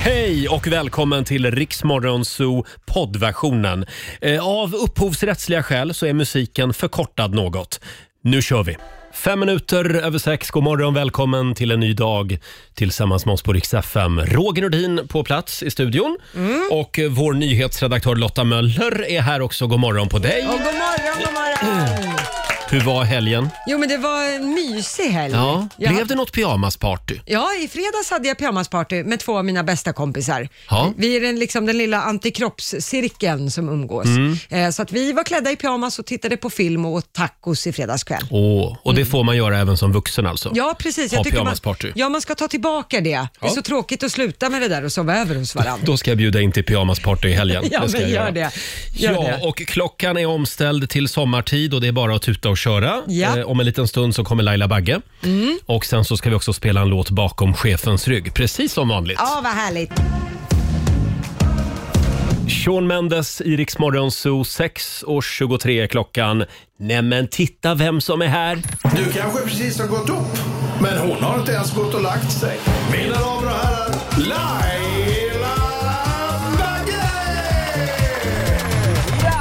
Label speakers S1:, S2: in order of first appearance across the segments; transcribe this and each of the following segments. S1: Hej och välkommen till Riksmorgon Zoo poddversionen. Eh, Av upphovsrättsliga skäl så är musiken förkortad något. Nu kör vi! Fem minuter över sex, god morgon, välkommen till en ny dag tillsammans med oss på Rix FM. Roger Nordin på plats i studion
S2: Mm.
S1: och eh, vår nyhetsredaktör Lotta Möller är här också. God morgon på dig!
S2: Och god morgon, god morgon.
S1: Hur var helgen?
S2: Jo men det var en mysig helg.
S1: Ja,
S2: Jag-
S1: blev det något pyjamasparty?
S2: Ja, i fredags hade jag pyjamasparty med två av mina bästa kompisar.
S1: Ja.
S2: Vi är den, liksom, den lilla antikroppscirkeln som umgås.
S1: Mm.
S2: Eh, så att vi var klädda i pyjamas och tittade på film och åt tacos i fredags kväll.
S1: Åh, och
S2: Mm.
S1: det får man göra även som vuxen alltså?
S2: Ja, precis.
S1: Ha
S2: Jag tycker man,
S1: pyjamasparty.
S2: ja, man ska ta tillbaka det. Det är så tråkigt att sluta med det där och sova över hos varandra.
S1: Då ska jag bjuda in till pyjamasparty i helgen.
S2: Ja,
S1: ska
S2: men
S1: jag
S2: gör det. Gör
S1: ja,
S2: det.
S1: och klockan är omställd till sommartid och det är bara att tuta och köra.
S2: Ja. Mm.
S1: Eh, om en liten stund så kommer Laila Bagge. Och sen så ska vi också spela en låt bakom chefens rygg, precis som vanligt.
S2: Ja, vad härligt.
S1: Sean Mendes i Rix Morgon Zoo, 6.23 är klockan. Nämen, titta vem som är här!
S3: Du kanske precis har gått upp, men hon har inte ens gått och lagt sig. Mina damer och herrar, Laila Bagge!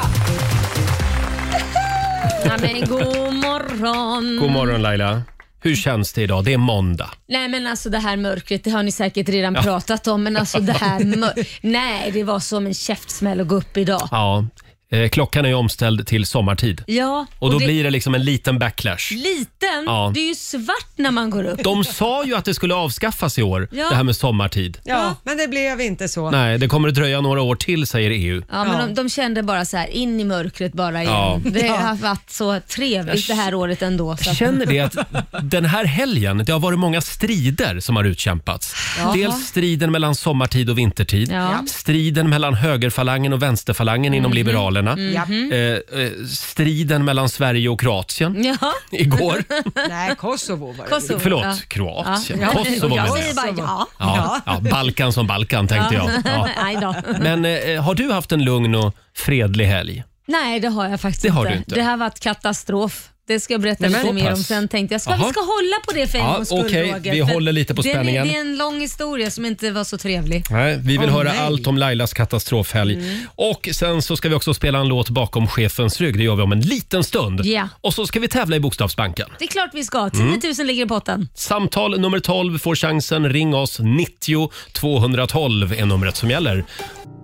S4: Ja, men god morgon.
S1: God morgon Laila! Hur känns det idag? Det är måndag.
S4: Nej men alltså det här mörkret, det har ni säkert redan pratat om, men alltså det här mör- Nej, det var som en käftsmäll att gå upp idag.
S1: Ja, eh, klockan är omställd till sommartid.
S4: Ja,
S1: Och då
S4: det-
S1: blir det liksom en liten backlash.
S4: Liten?
S1: Ja.
S4: Det är ju svart när man går upp.
S1: De sa ju att det skulle avskaffas i år,
S4: Ja.
S1: det här med sommartid.
S2: Ja, men det blev inte så.
S1: Nej, det kommer att dröja några år till säger E EU.
S4: Ja, men de, de kände bara så här in i mörkret bara igen.
S1: Ja.
S4: Det har varit så trevligt det här året ändå. Så
S1: Jag
S4: att,
S1: känner det att den här helgen, det har varit många strider som har utkämpats.
S4: Jaha.
S1: Dels striden mellan sommartid och vintertid.
S4: Ja. Mhm.
S1: Striden mellan högerfalangen och vänsterfalangen inom Liberalerna.
S2: Ja.
S1: Eh, eh, striden mellan Sverige och Kroatien
S4: ja,
S1: igår.
S2: Nej, Kosovo var det.
S4: Kosovo.
S1: Förlåt,
S4: Ja.
S1: Kroatien.
S4: Ja.
S1: Kosovo
S4: Jag
S1: menar
S4: säger
S1: jag.
S4: bara ja.
S1: Ja, ja, Balkan som Balkan tänkte jag. Ja.
S4: Nej, då.
S1: Men eh, har du haft en lugn och fredlig helg?
S4: Nej, det har jag faktiskt
S1: Det har
S4: inte.
S1: du inte.
S4: Det har varit katastrof. Det ska jag berätta
S1: Nej, men-
S4: lite
S1: Så
S4: mer om
S1: pass.
S4: sen. Tänkte jag. Ska,
S1: Jaha.
S4: vi ska hålla på det för en
S1: Ja,
S4: gångs skull,
S1: okej.
S4: Roger,
S1: Vi
S4: för
S1: håller lite på
S4: det är-
S1: spänningen.
S4: Det är en lång historia som inte var så trevlig.
S1: Nej, vi vill
S2: Åh,
S1: höra
S2: nej. Mm.
S1: allt om Lailas katastrofhelg. Och sen så ska vi också spela en låt bakom chefens rygg. Det gör vi om en liten stund.
S4: Ja.
S1: Och så ska vi tävla i Bokstavsbanken.
S4: Det är klart vi ska. 10
S1: Mm.
S4: 000 ligger i potten.
S1: Samtal nummer 12 får chansen. Ring oss. 90 212 är numret som gäller.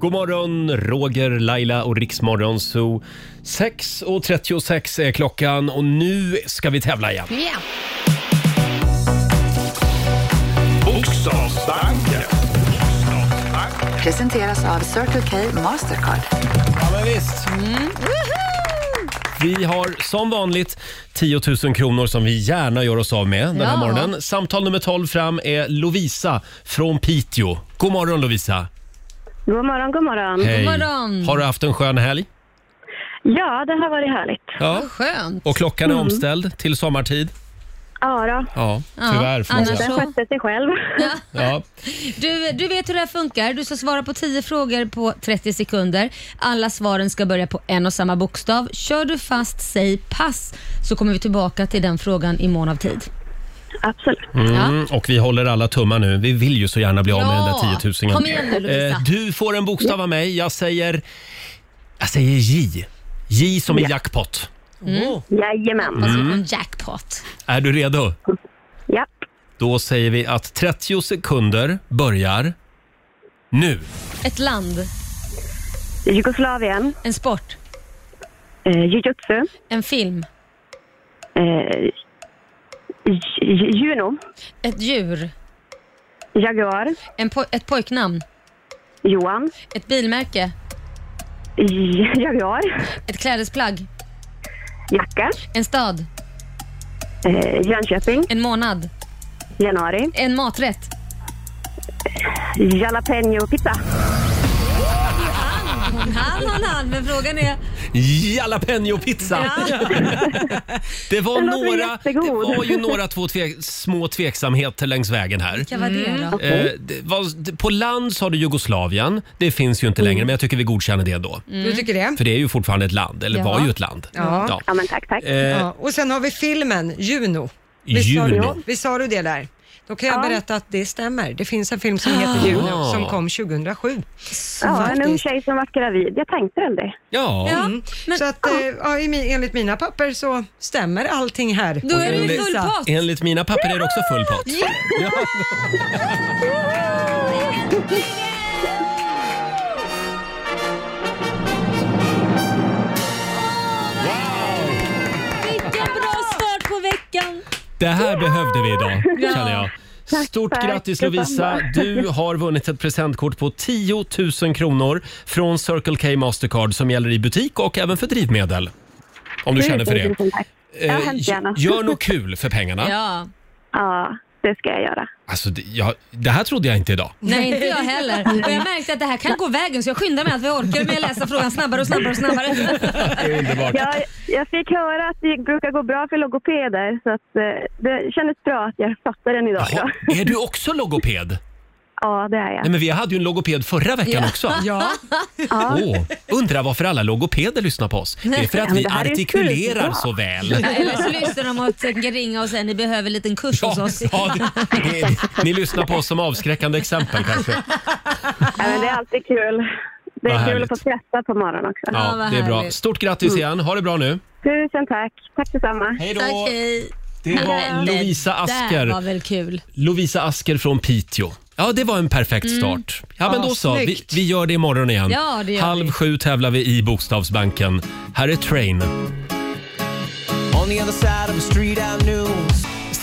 S1: God morgon, Roger, Laila och Riksmorgon Zoo. 6.36 är klockan och nu ska vi tävla igen.
S4: Yeah.
S3: Bokstavsbanken.
S5: Presenteras av Circle K Mastercard.
S1: Ja, men visst. Vi har som vanligt 10 000 kronor som vi gärna gör oss av med den här
S4: Ja.
S1: morgonen. Samtal nummer 12 fram är Lovisa från Piteå. God morgon Lovisa!
S6: God morgon, god morgon.
S1: Hej!
S4: morgon.
S1: Har du haft en skön helg?
S6: Ja, det har varit härligt.
S1: Ja.
S4: Skönt.
S1: Och klockan
S4: Mm.
S1: är omställd till sommartid?
S6: Ja, då.
S1: Ja, tyvärr. får man
S4: annars-
S1: säga.
S6: Den
S4: Så.
S6: skötte sig själv.
S1: Ja.
S4: Du, du vet hur det här funkar. Du ska svara på 10 frågor på 30 sekunder. Alla svaren ska börja på en och samma bokstav. Kör du fast, säg pass, så kommer vi tillbaka till den frågan i mån av tid.
S6: Absolut.
S1: Mm, och vi håller alla tummar nu. Vi vill ju så gärna bli av med
S4: Ja.
S1: den där 10 000.
S4: Kom igen nu, Lovisa.
S1: du får en bokstav av mig. Jag säger... Jag säger J. J som i jackpot.
S6: Jajamän.
S1: Mm.
S4: Vad säger du? Alltså, Jackpot.
S1: Är du redo?
S6: Ja.
S1: Då säger vi att 30 sekunder börjar nu.
S4: Ett land,
S6: Jugoslavien,
S4: en sport,
S6: eh, jujutsu,
S4: en film,
S6: eh, ju- ju- Juno,
S4: ett djur,
S6: Jaguar,
S4: en poj- ett pojknamn,
S6: Johan,
S4: ett bilmärke,
S6: J- Jaguar,
S4: ett klädesplagg,
S6: Jacka,
S4: en stad,
S6: eh, Jönköping,
S4: en månad,
S6: Januari,
S4: en maträtt.
S6: Jalapeno pizza.
S4: Han, han, han, men frågan är...
S1: Jalapeno pizza! Det var,
S6: Den låter
S1: några, det
S6: jättegod.
S1: var ju några två tve, små tveksamheter längs vägen här.
S4: Vilka var det då?
S1: Eh, det var, på land sa du Jugoslavien. Det finns ju inte
S6: Mm.
S1: längre, men jag tycker vi godkänner det då.
S2: Du tycker det?
S1: För det är ju fortfarande ett land, eller
S4: Ja.
S1: var ju ett land.
S2: Ja.
S1: Ja.
S6: Ja, men tack, tack.
S1: Eh,
S2: Ja, och sen har vi filmen Juno. Visst sa,
S1: Juno.
S2: du, visst sa du det där? Då kan jag berätta att det stämmer. Det finns en film som
S1: Ah.
S2: heter Juno som kom 2007.
S6: Ja, en ung
S4: Faktiskt.
S6: tjej som var gravid. Jag tänkte den det.
S1: Ja.
S4: Ja, men
S2: så att, eh, ja, i min, enligt mina papper så stämmer allting här.
S4: då är det ju full
S2: Lisa.
S4: pott.
S1: Enligt mina papper är det också full pott. Ja.
S4: Vilken bra start på veckan.
S1: Det här behövde vi idag,
S4: Ja.
S1: känner jag.
S6: Tack,
S1: Stort
S6: tack.
S1: grattis Lovisa!
S6: Detsamma.
S1: Du har vunnit ett presentkort på 10 000 kronor från Circle K Mastercard som gäller i butik och även för drivmedel. Om du känner för det.
S6: Tusen tack. Ja,
S1: Eh,
S6: hemskt gärna.
S1: Gör något kul för pengarna.
S4: Ja.
S6: Ja, det ska jag göra.
S1: Alltså, det, jag, det här trodde jag inte idag.
S4: Nej, inte jag heller. Och jag märkte att det här kan gå vägen så jag skyndar mig att vi orkar med att läsa frågan snabbare och snabbare och snabbare.
S1: Underbart.
S6: Jag, jag fick höra att det brukar gå bra för logopeder, så att, eh, det kändes bra att jag fattade den idag.
S1: Jaha, är du också logoped?
S6: Ja, det är jag.
S1: Nej, men vi hade ju en logoped förra veckan också.
S2: Ja,
S1: Åh, undrar varför alla logopeder lyssnar på oss. Det är för att vi
S6: det här är
S1: artikulerar
S6: superbra.
S1: så väl.
S4: Eller så lyssnar de och tänker ringa och säga ni behöver en liten kurs hos
S1: Ja,
S4: oss.
S1: ja, det, det, ni lyssnar på oss som avskräckande exempel kanske.
S6: Ja, men det är alltid kul. Det
S1: Vad
S6: är kul
S1: härligt.
S6: att få träffa på morgonen också.
S4: Ja,
S1: Ja,
S4: vad
S1: det är bra.
S4: härligt.
S1: Stort grattis igen. Ha det bra nu.
S6: Tusen tack. Tack detsamma.
S1: Hej
S4: Tack,
S1: då.
S4: hej.
S1: Det var
S4: Men
S1: Lovisa
S4: Det där var
S1: Asker.
S4: väl kul.
S1: Lovisa Asker från Piteå. Ja, det var en perfekt start. Ja, men
S2: Ja,
S1: då så. Vi,
S2: snyggt.
S1: vi gör det imorgon igen.
S4: Mm. Ja, det gör
S1: Halv
S4: vi.
S1: sju tävlar vi i Bokstavsbanken. Här är Train.
S7: On the other side of the street I knew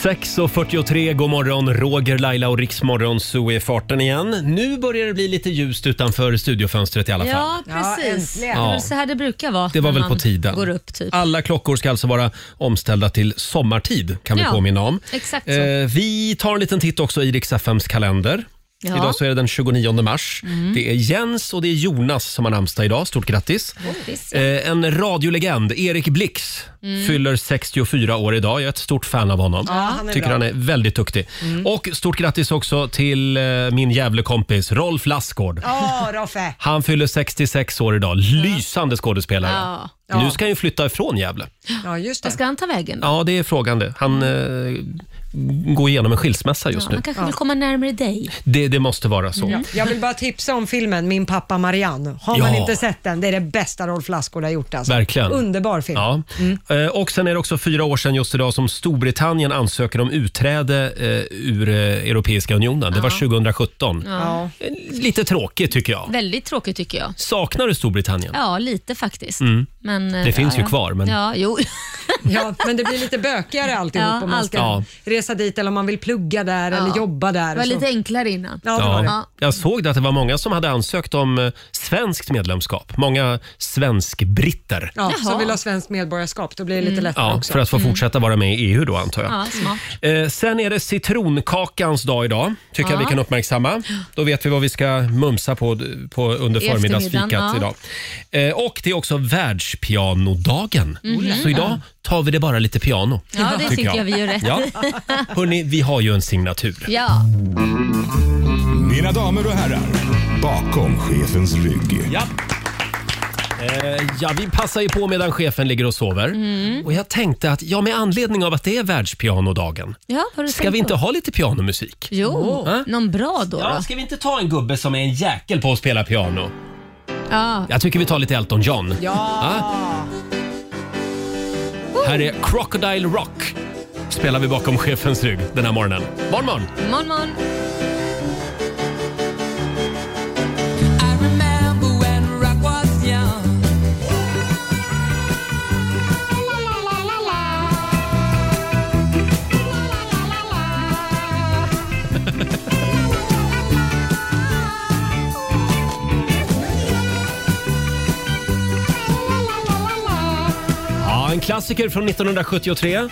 S1: 6.43, god morgon. Roger, Laila och Riksmorgon, så är farten igen. Nu börjar det bli lite ljust utanför studiofönstret i alla fall.
S4: Ja,
S2: Ja,
S4: precis.
S2: äntligen.
S4: det är väl så här det brukar vara.
S1: Det var
S4: när
S1: väl på
S4: man
S1: tiden.
S4: Går upp typ.
S1: Alla klockor ska alltså vara omställda till sommartid kan vi
S4: Ja,
S1: påminna om.
S4: exakt så.
S1: Eh, vi tar en liten titt också i Rix FMs kalender.
S4: Ja. Mm.
S1: Idag så är det den 29 mars. Det är Jens och det är Jonas som har namnsdag idag. Stort grattis!
S4: Grattis.
S1: Eh, en radiolegend, Erik Blix,
S4: Mm.
S1: fyller 64 år idag. Jag är ett stort fan av honom.
S2: han är
S1: Tycker
S2: bra. Mm.
S1: han är väldigt duktig. Och stort grattis också till eh, min Gävlekompis Rolf Lassgård.
S2: ja Roffe.
S1: Han fyller 66 år idag. Lysande skådespelare.
S4: Ja.
S1: Nu ska han ju flytta ifrån Gävle.
S2: Ja, just
S4: Vad
S2: det.
S4: ska han ta vägen då?
S1: Ja, det är frågan det. Han eh, går igenom en skilsmässa just
S4: Mm. Han
S1: nu.
S4: kanske vill komma närmare dig.
S1: Det, det måste vara så.
S2: Jag vill bara tipsa om filmen Min pappa Marianne. Har man
S1: Ja.
S2: inte sett den, det är det bästa Rolf Lassgård har gjort. Alltså.
S1: Verkligen.
S2: Underbar film.
S1: Ja.
S4: Mm.
S1: Eh, Och sen är det också fyra år sedan just idag som Storbritannien ansöker om utträde eh, ur eh, Europeiska unionen. Det var 2017.
S2: Ja.
S1: Eh, Lite tråkigt tycker jag.
S4: Väldigt tråkigt tycker jag.
S1: Saknar du Storbritannien?
S4: Ja, lite faktiskt. Men, eh,
S1: Mm. Det finns
S4: ja,
S1: ju
S4: ja.
S1: kvar, men-
S4: Ja, jo.
S2: Ja, men det blir lite bökigare alltihop
S4: Ja,
S2: om man ska
S1: alltid.
S2: resa dit eller om man vill plugga där
S4: Ja.
S2: eller jobba där.
S4: det
S2: och
S4: var
S2: så.
S4: lite enklare innan.
S2: Ja, det var det.
S4: Ja.
S1: Jag såg det att det var många som hade ansökt om eh, svenskt medlemskap. Många svensk-britter.
S2: Ja,
S4: Jaha.
S2: som vill ha svenskt medborgarskap, då blir det lite lättare
S1: Mm. Ja,
S2: också.
S1: för att få fortsätta vara med i EU då antar jag.
S4: Mm. Ja, smart.
S1: Eh, sen är det citronkakans dag idag. Tycker jag vi kan uppmärksamma. Då vet vi vad vi ska mumsa på, på under
S4: I eftermiddagen,
S1: förmiddagsfikat
S4: ja. Mm.
S1: idag. Eh, och det är också världspianodagen. Så idag tar vi det bara lite piano.
S4: Ja, det tycker jag vi gör rätt
S1: ja. Hörni, vi har ju en signatur.
S4: Ja,
S3: Mina damer och herrar, bakom chefens rygg.
S1: Ja. Eh, ja, vi passar ju på medan chefen ligger och sover. Och jag tänkte att, ja med anledning av att det är världspianodagen,
S4: ja vad har du
S1: ska
S4: tänkt
S1: vi inte
S4: på?
S1: ha lite pianomusik?
S4: Jo, någon bra då.
S1: Ja,
S4: då?
S1: ska vi inte ta en gubbe som är en jäkel på att spela piano?
S4: Ja.
S1: Jag tycker vi tar lite Elton John. Ja. Här är Crocodile Rock. Spelar vi bakom chefens rygg den här morgonen. Morgon, morgon!
S4: Morgon, morgon.
S1: Ja, en klassiker från 1973.
S2: Mm.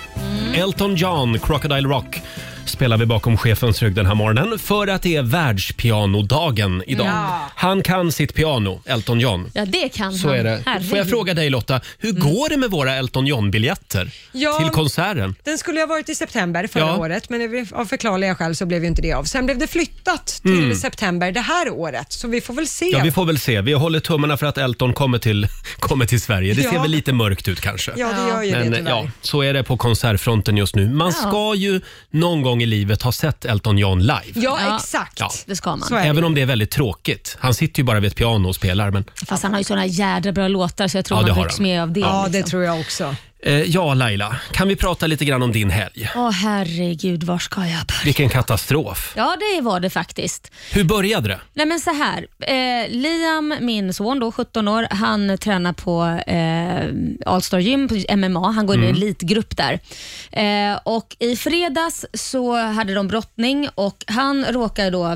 S1: Elton John, Crocodile Rock spelar vi bakom chefens rygg den här morgonen för att det är världspianodagen idag. Han kan sitt piano, Elton John.
S4: Ja, det kan
S1: Så
S4: han.
S1: är det. Får jag
S4: Herregud.
S1: fråga dig Lotta, hur går det med våra Elton John-biljetter
S2: Mm. Ja.
S1: till konserten?
S2: Den skulle ju ha varit i september förra
S1: Ja.
S2: året, men det blev- av förklarliga skäl så blev ju inte det av. Sen blev det flyttat till september det här året, så vi får väl se.
S1: Mm. Ja, vi får väl se. Vi håller tummarna för att Elton kommer till, kommer till Sverige. Det ser
S2: Ja.
S1: väl lite mörkt ut kanske.
S2: Ja, det gör ju
S1: Men
S2: det
S1: eh,
S2: tyvärr.
S1: ja, så är det på konsertfronten just nu. Man ska ju någon gång gång i livet ha sett Elton John live.
S2: Ja,
S4: Ja.
S2: exakt.
S1: Ja,
S4: det ska man.
S2: Så är det.
S1: Även om det är väldigt tråkigt. Han sitter ju bara vid ett piano och spelar. Men,
S4: Fast han har ju såna jädra bra låtar så jag tror
S1: Ja, det
S4: man
S1: har
S4: rycks
S1: han.
S4: med av det.
S2: Ja, det
S4: liksom.
S2: tror jag också.
S1: eh, ja, Laila, kan vi prata lite grann om din helg?
S4: Åh herregud, var ska jag börja?
S1: Vilken katastrof.
S4: Ja, det var det faktiskt.
S1: Hur började det?
S4: Nej men så här. Eh, Liam, min son då, 17 år, han tränar på eh, Allstar Gym, på MMA. Han går i en elitgrupp där. Eh, och I fredags så hade de brottning och han råkade då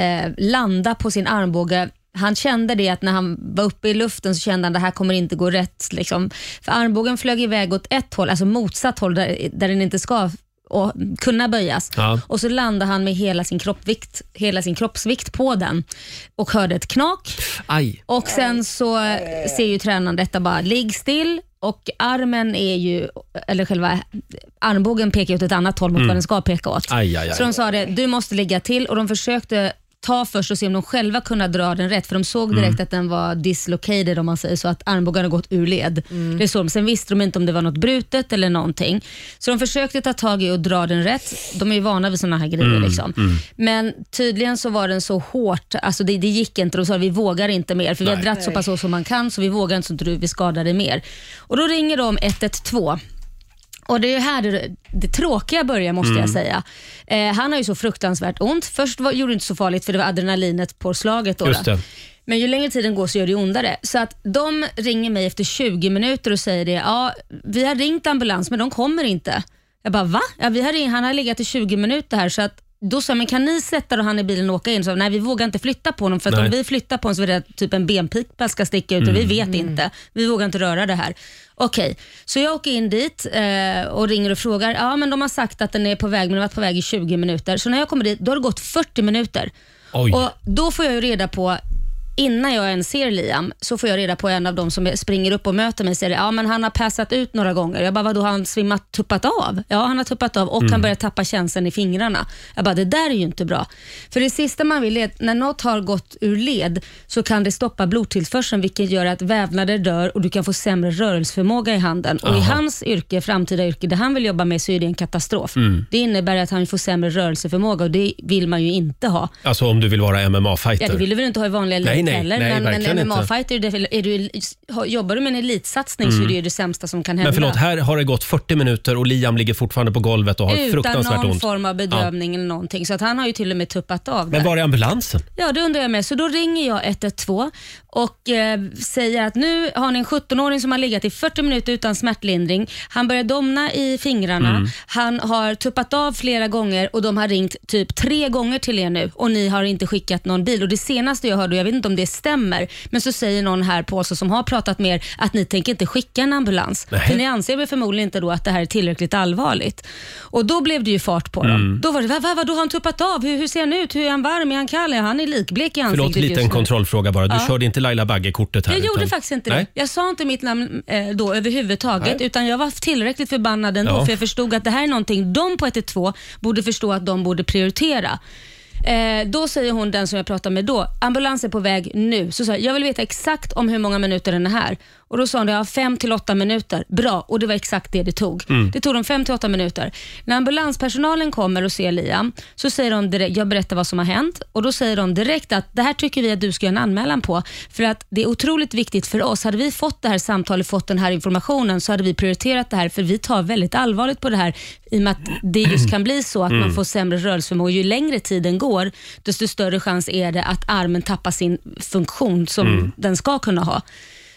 S4: eh, landa på sin armbåge han kände det att när han var uppe i luften så kände han det här kommer inte gå rätt. Liksom. För armbågen flög iväg åt ett håll, alltså motsatt håll där, där den inte ska och kunna böjas.
S1: Ja.
S4: Och så landade han med hela sin, kroppvikt, hela sin kroppsvikt på den och hörde ett knak.
S1: Aj.
S4: Och sen så ser ju tränaren detta bara, ligg still och armen är ju, eller själva armbågen pekar åt ett annat håll mot vad den ska peka åt.
S1: Mm. Aj, aj, aj.
S4: Så de sa det, du måste ligga till och de försökte ta först och se om de själva kunde dra den rätt, för de såg direkt
S1: Mm.
S4: att den var dislocated om man säger så, att armbågarna gått ur led.
S1: Mm.
S4: Det såg de. Sen visste de inte om det var något brutet eller någonting. Så de försökte ta tag i och dra den rätt. De är ju vana vid sådana här grejer.
S1: Mm,
S4: Liksom. Men tydligen så var den så hårt, alltså det, det gick inte. De sa vi vågar inte mer, för vi har
S1: Nej.
S4: dratt så pass hårt som man kan, så vi vågar inte så inte du vi skadar dig mer. Och Då ringer de 112. Och Det är ju här det, det tråkiga börjar måste
S1: Mm.
S4: jag säga. Eh, han har ju så fruktansvärt ont. Först var, gjorde det inte så farligt för det var adrenalinet på slaget. Då,
S1: Just
S4: då.
S1: det.
S4: Men ju längre tiden går så gör det ju ondare. Så att de ringer mig efter 20 minuter och säger det. Ja, vi har ringt ambulans men de kommer inte. Jag bara va? Ja, vi har ringt, han har legat i 20 minuter här så att då sa jag, men kan ni sätta han i bilen och åka in? Så, nej, vi vågar inte flytta på honom för att
S1: Nej.
S4: om vi flyttar på honom så är det att typ en benpipa ska sticka ut och vi vet inte. Vi vågar inte röra det här. Okej, så jag åker in dit eh, och ringer och frågar. Ja, men de har sagt att den är på väg, men den har varit på väg i 20 minuter. Så när jag kommer dit, då har det gått 40 minuter.
S1: Oj.
S4: Och då får jag ju reda på, innan jag ens ser Liam, så får jag reda på en av dem som springer upp och möter mig och säger ja men han har passat ut några gånger. Jag bara, vadå har han svimmat, tuppat av? Ja, han har tuppat av och han börjar tappa känslan i fingrarna. Jag bara, det där är ju inte bra. För det sista man vill är att när något har gått ur led så kan det stoppa blodtillförseln vilket gör att vävnader dör och du kan få sämre rörelseförmåga i handen. Och i
S1: Aha.
S4: hans yrke, framtida yrke, det han vill jobba med så är det en katastrof. Det innebär att han får sämre rörelseförmåga och det vill man ju inte ha.
S1: Alltså om du vill vara
S4: Ja, det
S1: MMA-fighter.
S4: vill du väl inte ha i vanliga livet
S1: Nej, nej,
S4: heller?
S1: nej,
S4: men
S1: verkligen
S4: en
S1: inte.
S4: MMA-fighter, är det- är du, har- jobbar du med en elitsatsning så är det ju det sämsta som kan hända.
S1: Mm. Men förlåt, här har det gått 40 minuter och Liam ligger fortfarande på golvet och har
S4: Utan
S1: fruktansvärt
S4: någon
S1: ont.
S4: form av bedövning eller någonting. Så att han har ju till och med tuppat av
S1: Men
S4: där.
S1: var är ambulansen?
S4: Ja, det undrar jag med. Så då ringer jag 112 och eh, säger att nu har ni en 17-åring som har legat i 40 minuter utan smärtlindring. Han börjar domna i fingrarna. Han har tuppat av flera gånger och de har ringt typ tre gånger till er nu och ni har inte skickat någon bil. Och Det senaste jag hörde, och jag vet inte om det stämmer, men så säger någon här på oss som har pratat med er att ni tänker inte skicka en ambulans.
S1: Nej.
S4: För ni anser väl förmodligen inte då att det här är tillräckligt allvarligt. Och Då blev det ju fart på
S1: Mm.
S4: dem. Då var det, vad va, vadå, har han tuppat av? Hur, hur ser han ut? Hur är han varm? Är han kall? Är han är likblek i ansiktet
S1: Förlåt, liten
S4: just nu.
S1: kontrollfråga bara. Du körde inte Laila Bagge-kortet här?
S4: Jag gjorde
S1: utan-
S4: faktiskt inte
S1: Nej.
S4: det. Jag sa inte mitt namn eh, då överhuvudtaget utan jag var tillräckligt förbannad ändå
S1: Ja.
S4: för jag förstod att det här är någonting de på 112 borde förstå att de borde prioritera. Eh, då säger hon, den som jag pratade med då, ambulans är på väg nu. Så sa jag, jag vill veta exakt om hur många minuter den är här. Och Då sa hon, ja, fem till åtta minuter. Bra, och det var exakt det det tog.
S1: Mm.
S4: Det tog dem fem till åtta minuter. När ambulanspersonalen kommer och ser Liam, så säger de direkt, jag berättar vad som har hänt och då säger de direkt att det här tycker vi att du ska göra en anmälan på för att det är otroligt viktigt för oss. Hade vi fått det här samtalet, fått den här informationen så hade vi prioriterat det här för vi tar väldigt allvarligt på det här i och med att det just kan bli så att man får sämre rörelseförmåga. Ju längre tiden går, desto större chans är det att armen tappar sin funktion som den ska kunna ha.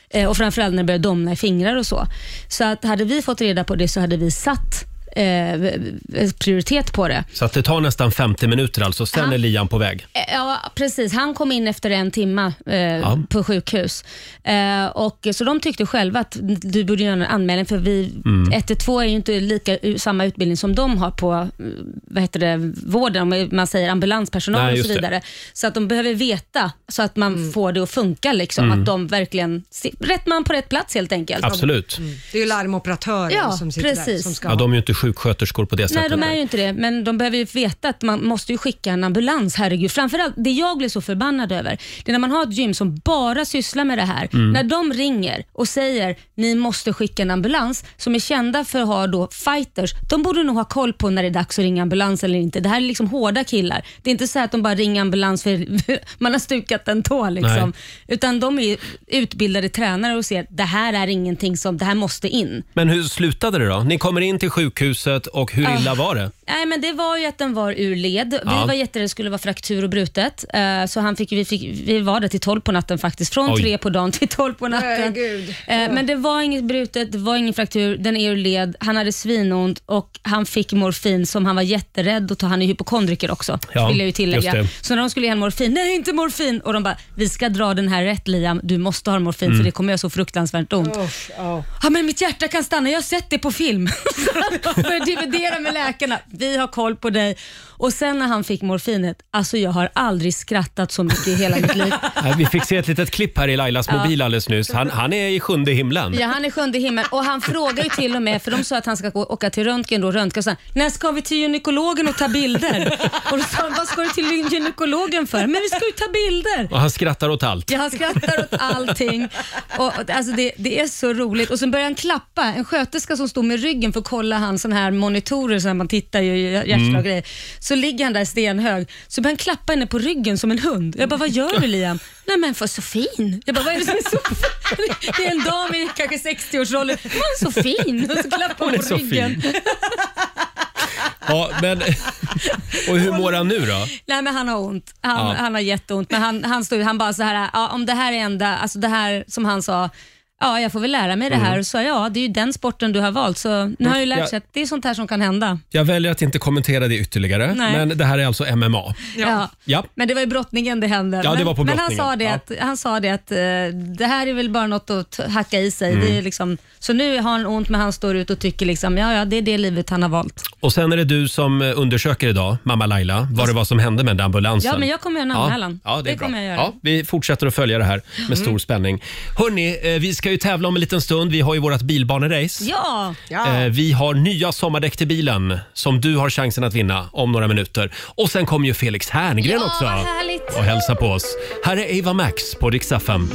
S4: Eh, Och framförallt när det börjar domna i fingrar och så. Så att hade vi fått reda på det så hade vi satt eh, prioritet på det.
S1: Så att det tar nästan 50 minuter alltså, sen
S4: Ja.
S1: är Liam på väg.
S4: Eh, Ja, precis. Han kom in efter en timme eh, på sjukhus. Eh, och, så de tyckte själva att du borde göra en anmälan för vi,
S1: Mm.
S4: 112 är ju inte lika, samma utbildning som de har på eh, vad heter det, vården, om man säger ambulanspersonal
S1: Nej,
S4: och
S1: just
S4: så
S1: det.
S4: vidare. Så att de behöver veta så att man får det att funka. Liksom, Att de verkligen, se- rätt man på rätt plats helt enkelt.
S1: Mm. Absolut.
S4: Mm.
S2: Det är ju larmoperatören
S4: Ja,
S2: som sitter där.
S4: precis.
S2: Som ska
S1: Ja, de är ju inte sjuksköterskor på det
S4: Nej,
S1: sättet.
S4: de är ju inte det, men de behöver ju veta att man måste ju skicka en ambulans, herregud. Framförallt, det jag blir så förbannad över, det är när man har ett gym som bara sysslar med det här. När de ringer och säger ni måste skicka en ambulans, som är kända för att ha då fighters, de borde nog ha koll på när det är dags att ringa ambulans eller inte. Det här är liksom hårda killar. Det är inte så här att de bara ringer ambulans för man har stukat en tå. Liksom. Utan de är ju utbildade tränare och ser det här är ingenting som, det här måste in.
S1: Men hur slutade det då? Ni kommer in till sjukhuset och hur illa var det?
S4: Nej, men det var ju att den var ur led. Vi
S1: Ja.
S4: var jätterädda det skulle vara fraktur och brutet. Eh, Så han fick, vi, fick, vi var där till 12 på natten faktiskt. Från
S1: Oj.
S4: tre på dagen till 12 på natten.
S2: Herregud.
S4: Eh, Men det var inget brutet, det var ingen fraktur, den är ur led, han hade svinont och han fick morfin som han var jätterädd att ta. Han är hypokondriker också,
S1: Ja,
S4: vill jag ju
S1: just det.
S4: tillägga. Så när de skulle ge honom morfin, nej inte morfin! Och de bara, vi ska dra den här rätt Liam, du måste ha morfin
S1: Mm.
S4: för det kommer göra så fruktansvärt ont.
S2: Usch, ja.
S4: Ja, men mitt hjärta kan stanna, jag har sett det på film. För dividera med läkarna, vi har koll på dig. Och sen när han fick morfinet, alltså jag har aldrig skrattat så mycket i hela mitt liv.
S1: Nej, Vi fick se ett litet klipp här i Lailas mobil alldeles nyss. Han, han är i sjunde himlen.
S4: Ja, han är sjunde himmel och han frågar ju till och med, för de sa att han ska gå, åka till röntgen då, röntgen och sa han, när ska vi till gynekologen och ta bilder? Och då sa han, vad ska du till gynekologen för? Men vi ska ju ta bilder.
S1: Och han skrattar åt allt.
S4: Ja, han skrattar åt allting. Och, och, alltså det, det är så roligt. Och sen börjar han klappa. En sköterska som stod med ryggen för att kolla hans sån här monitorer, så här man tittar ju i hjärtslag
S1: Mm.
S4: och grejer. Så ligger han där stenhög. Så börjar han klappa henne på ryggen som en hund. Jag bara, vad gör du Liam? Nej men för så fin. Jag bara, vad är det som är så fin? Det är en dam i kanske 60-årsåldern. Hon är så fin. Och så klappar hon
S1: Hon är
S4: på
S1: så
S4: ryggen.
S1: fin. Ja, men, och hur mår han nu då?
S4: Nej men han har ont. Han,
S1: Ja.
S4: han har jätteont. Men han, han stod han bara så här, ja, om det här är enda, alltså det här som han sa, ja jag får väl lära mig det här. Så ja, det är ju den sporten du har valt. Så nu har jag ju lärt
S1: Mm.
S4: sig
S1: Ja.
S4: att det är sånt här som kan hända.
S1: Jag väljer att inte kommentera det ytterligare,
S4: Nej.
S1: men det här är alltså MMA.
S4: Ja.
S1: Ja.
S4: Men det var ju brottningen det hände.
S1: Ja, det
S4: men,
S1: var på
S4: men han
S1: brottningen.
S4: sa det
S1: Ja.
S4: att, han sa det att eh, det här är väl bara något att t- hacka i sig.
S1: Mm.
S4: Det är liksom, så nu har han ont men han står ut och tycker liksom, ja ja det är det livet han har valt.
S1: Och sen är det du som eh, undersöker idag, mamma Laila, vad det var som hände med den där ambulansen.
S4: Ja, men jag kommer göra en anmälan.
S1: Ja, ja, det är
S4: Det
S1: bra.
S4: kommer jag göra. Mm.
S1: Ja, vi fortsätter att följa det här med stor spänning. Hörni, eh, vi ska ju tävla om en liten stund. Vi har ju vårt bilbanerace.
S4: Ja!
S2: Ja.
S1: Eh, Vi har nya sommardäck till bilen som du har chansen att vinna om några minuter. Och sen kommer ju Felix Herngren
S4: Ja,
S1: också
S4: vad härligt.
S1: och hälsa på oss. Här är Ava Max på Rix FM.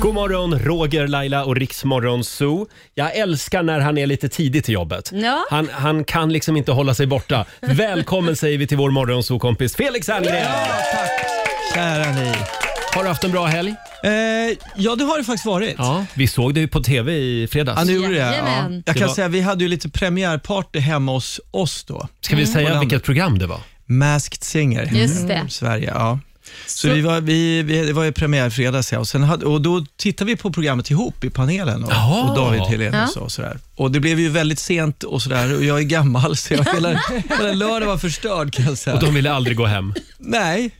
S1: God morgon, Roger, Laila och Riksmorgon Zoo. Jag älskar när han är lite tidig till jobbet.
S4: Ja.
S1: Han, han kan liksom inte hålla sig borta. Välkommen säger vi till vår morgonzoo-kompis Felix Herngren.
S7: Kära ni.
S1: Har du haft en bra helg?
S7: Eh, ja, det har det faktiskt varit.
S1: Ja. Vi såg det ju på TV i fredags.
S7: Ja, det gjorde det. Ja.
S4: Jajamän.
S7: Jag
S1: Det
S7: kan
S1: var-
S7: säga, vi hade ju lite premiärparty hemma hos oss då.
S1: Ska vi säga
S7: Mm.
S1: vilket program det var?
S7: Masked Singer.
S4: Just det.
S7: Mm, Sverige, ja. Så, Vi var, vi, vi, det var ju premiär i fredags ja. och, sen hade, och då tittade vi på programmet ihop i panelen och,
S1: Jaha.
S7: och David Helén
S4: Ja.
S7: och, så, och sådär. Och det blev ju väldigt sent och sådär och jag är gammal så jag, hela, hela lördagen var förstörd kan jag säga.
S1: Och de ville aldrig gå hem.
S7: Nej.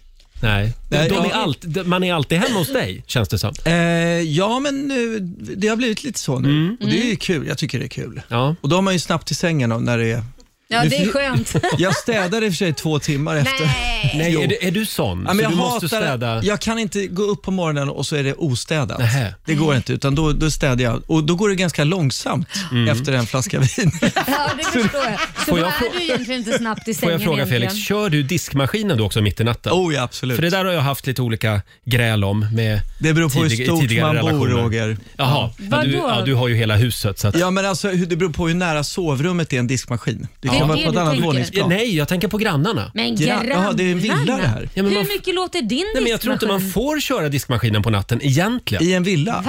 S1: Nej.
S7: Nej,
S1: de
S7: ja.
S1: är allt, man är alltid hemma hos dig, känns det som.
S7: Eh, ja, men eh, det har blivit lite så nu. Och det är ju kul. Jag tycker det är kul.
S1: Mm. Ja.
S7: Och då har man ju snabbt till sängen då, när det är...
S4: Ja,
S7: Nu
S4: det är
S7: fi-
S4: skönt.
S7: Jag städade i och för sig två timmar efter.
S4: Nej.
S1: Nej,
S7: Jo.
S1: är, du- är du sån?
S7: Ja, men
S1: så
S7: jag
S1: du måste
S7: hatar det.
S1: städa?
S7: Jag kan inte gå upp på morgonen och så är det ostädat.
S1: Nähä.
S7: Det går inte, utan då, då städar jag. Och då går det ganska långsamt
S1: Mm.
S7: efter en flaska vin.
S4: Ja, det förstår jag. Så
S1: Får
S4: då
S1: jag
S4: är
S1: frå-
S4: du egentligen inte snabbt i sängen
S1: Får jag fråga
S4: egentligen.
S1: Felix, kör du diskmaskinen då också mitt i natten?
S7: oh ja, absolut.
S1: För det där har jag haft lite olika gräl om med
S7: Det beror på hur
S1: tidig-
S7: stort
S1: tidigare
S7: man bor,
S1: relationer.
S7: Roger.
S1: Jaha, ja, du,
S4: Vadå?
S1: ja, du har ju hela huset. Så att...
S7: Ja, men alltså, hur- det beror på hur nära sovrummet är en diskmaskin. Det kan
S4: är
S7: vara
S4: det
S7: på ett
S4: du
S7: annat
S4: tänker.
S1: Ja,
S7: våningsplan.
S1: Nej, jag tänker på grannarna.
S4: Men
S7: Gra-
S4: grannarna?
S7: Jaha, det är en villa det här.
S1: Ja, men
S4: Hur
S1: man-
S4: mycket låter din
S1: Nej, men jag tror inte man
S4: diskmaskin?
S1: får köra diskmaskinen på natten egentligen.
S7: I en villa.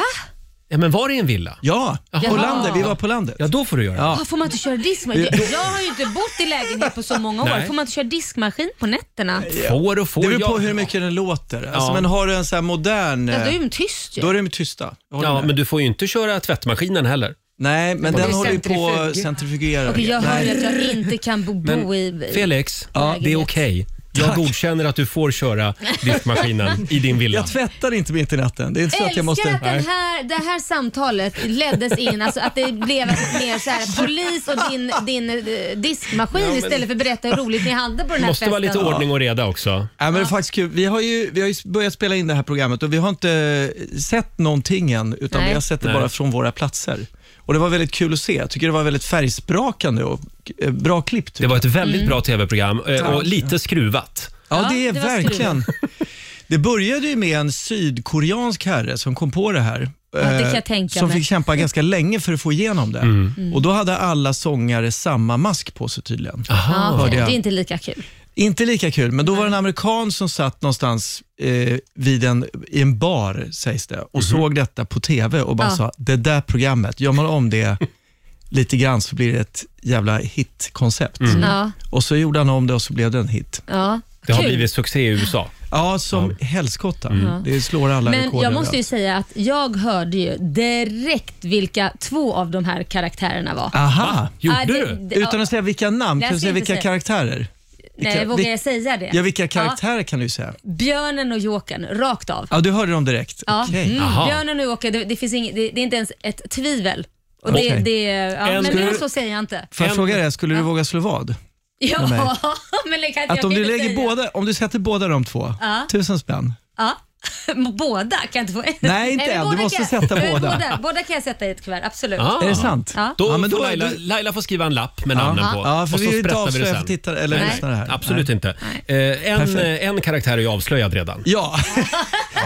S1: Ja, men var det i en villa?
S7: Ja, på
S4: Jaha.
S7: landet. Vi var på landet.
S1: Ja, då får du göra det.
S7: Ja.
S4: Ah, får man inte köra diskmaskin? Jag, jag har ju inte bott i lägenhet på så många år.
S1: Nej.
S4: Får man inte köra diskmaskin på nätterna?
S1: Får och får.
S7: Det beror på
S1: jag-
S7: hur mycket den låter. Alltså,
S1: Ja.
S7: Men har du en sån här modern...
S4: Ja, då
S7: eh,
S4: är de tyst ju.
S7: Då är de tysta. Jag håller
S1: Ja,
S7: med.
S1: men du får ju inte köra tvättmaskinen heller.
S7: Nej, men
S2: Det är
S7: den håller ju på
S2: centrifug.
S7: att centrifugera.
S4: Okej, jag hör
S7: Nej.
S4: att jag inte kan bo, bo i...
S1: Felix,
S4: Ja.
S1: det är okej. Jag godkänner att du får köra diskmaskinen i din villa.
S7: Jag tvättar inte mitt i natten. Det är inte så att
S4: Älskar
S7: jag
S4: att,
S7: måste...
S4: den här, det här samtalet leddes in, alltså att det blev mer så här, polis och din, din eh, diskmaskin istället för att berätta hur roligt ni hade på den
S1: Det
S4: här
S1: måste
S4: festen.
S1: vara lite ordning och reda också.
S7: Ja, men det är faktiskt kul. Vi har, ju, vi har ju börjat spela in det här programmet och vi har inte eh, sett någonting än, utan
S4: Nej.
S7: vi har sett det
S1: Nej.
S7: bara från våra platser. Och Det var väldigt kul att se. Jag tycker det var väldigt färgsprakande och eh, bra klipp. tycker
S1: Det var ett väldigt
S7: Mm.
S1: bra tv-program eh, och lite skruvat.
S7: Ja,
S4: Ja,
S7: det är
S4: det var
S7: verkligen. Det började ju med en sydkoreansk herre som kom på det här.
S4: det kan
S7: eh,
S4: jag tänka
S7: som
S4: mig. Mm.
S7: fick kämpa ganska länge för att få igenom det. Och Då hade alla sångare samma mask på sig tydligen.
S4: Ja, okej.
S7: Hörde
S4: det
S7: jag.
S4: är inte lika kul.
S7: Inte lika kul, men då var det en amerikan som satt någonstans eh, vid en, i en bar, sägs det, och såg detta på TV och bara
S4: Ja.
S7: sa, det där programmet, gör man om det lite grann så blir det ett jävla hitkoncept.
S1: Mm.
S4: Ja,
S7: Och så gjorde han om det och så blev det en hit.
S4: ja.
S1: Det har
S4: kul.
S1: blivit succé i USA.
S7: Ja, Mm. som helskotta. Det slår alla
S4: Men
S7: rekord.
S4: jag måste ju
S7: överallt.
S4: säga att jag hörde ju direkt vilka två av de här karaktärerna var.
S7: Aha!
S1: Gjorde
S4: Ah, det-
S1: du?
S4: det-
S7: Utan att säga vilka namn,
S4: Nej,
S7: kan du
S4: jag
S7: säga
S4: ska inte säga.
S7: vilka karaktärer?
S4: Nej,
S7: vilka-
S4: vågar
S7: vil-
S4: jag säga det?
S7: Ja, vilka
S4: Ja,
S7: karaktärer kan du säga?
S4: björnen och Jokern, rakt av.
S7: Ja, du hörde dem direkt.
S4: Ja.
S7: Okej.
S4: Mm.
S1: Aha.
S4: Björnen och Jokern, det, det, finns ing, det, det är inte ens ett tvivel. Och det,
S7: Okej.
S4: det, ja,
S1: En-
S4: men
S1: skulle
S4: mer
S1: du-
S4: så säger jag inte.
S7: Får jag
S1: En-
S7: fråga dig, skulle du våga slå vad?
S4: Ja,
S7: mig.
S4: men det kan inte
S7: Att
S4: jag
S7: om du
S4: inte
S7: lägger
S4: säga.
S7: båda, om du sätter båda de två,
S4: Ja.
S7: tusen spänn.
S4: Ja. Båda kan jag inte få en.
S7: Nej, inte än.
S4: men
S7: Du
S4: båda
S7: måste
S4: kan-
S7: sätta
S4: Nej,
S7: båda.
S4: båda. Båda kan jag sätta i ett kuvert, absolut.
S1: Ah.
S7: Är det sant?
S4: Ja.
S1: Då
S7: Ja, men
S1: får
S7: då-
S1: Laila,
S7: då-
S1: Laila får skriva en lapp med namnen på.
S7: Ja, för
S1: och
S7: vi
S1: så
S7: vill inte
S1: sprättar vi det
S7: avslöja för
S1: sen.
S7: tittare eller
S4: Nej.
S7: lyssnare här.
S1: Absolut inte. Eh, en, eh, en karaktär är ju avslöjad redan.
S7: Ja,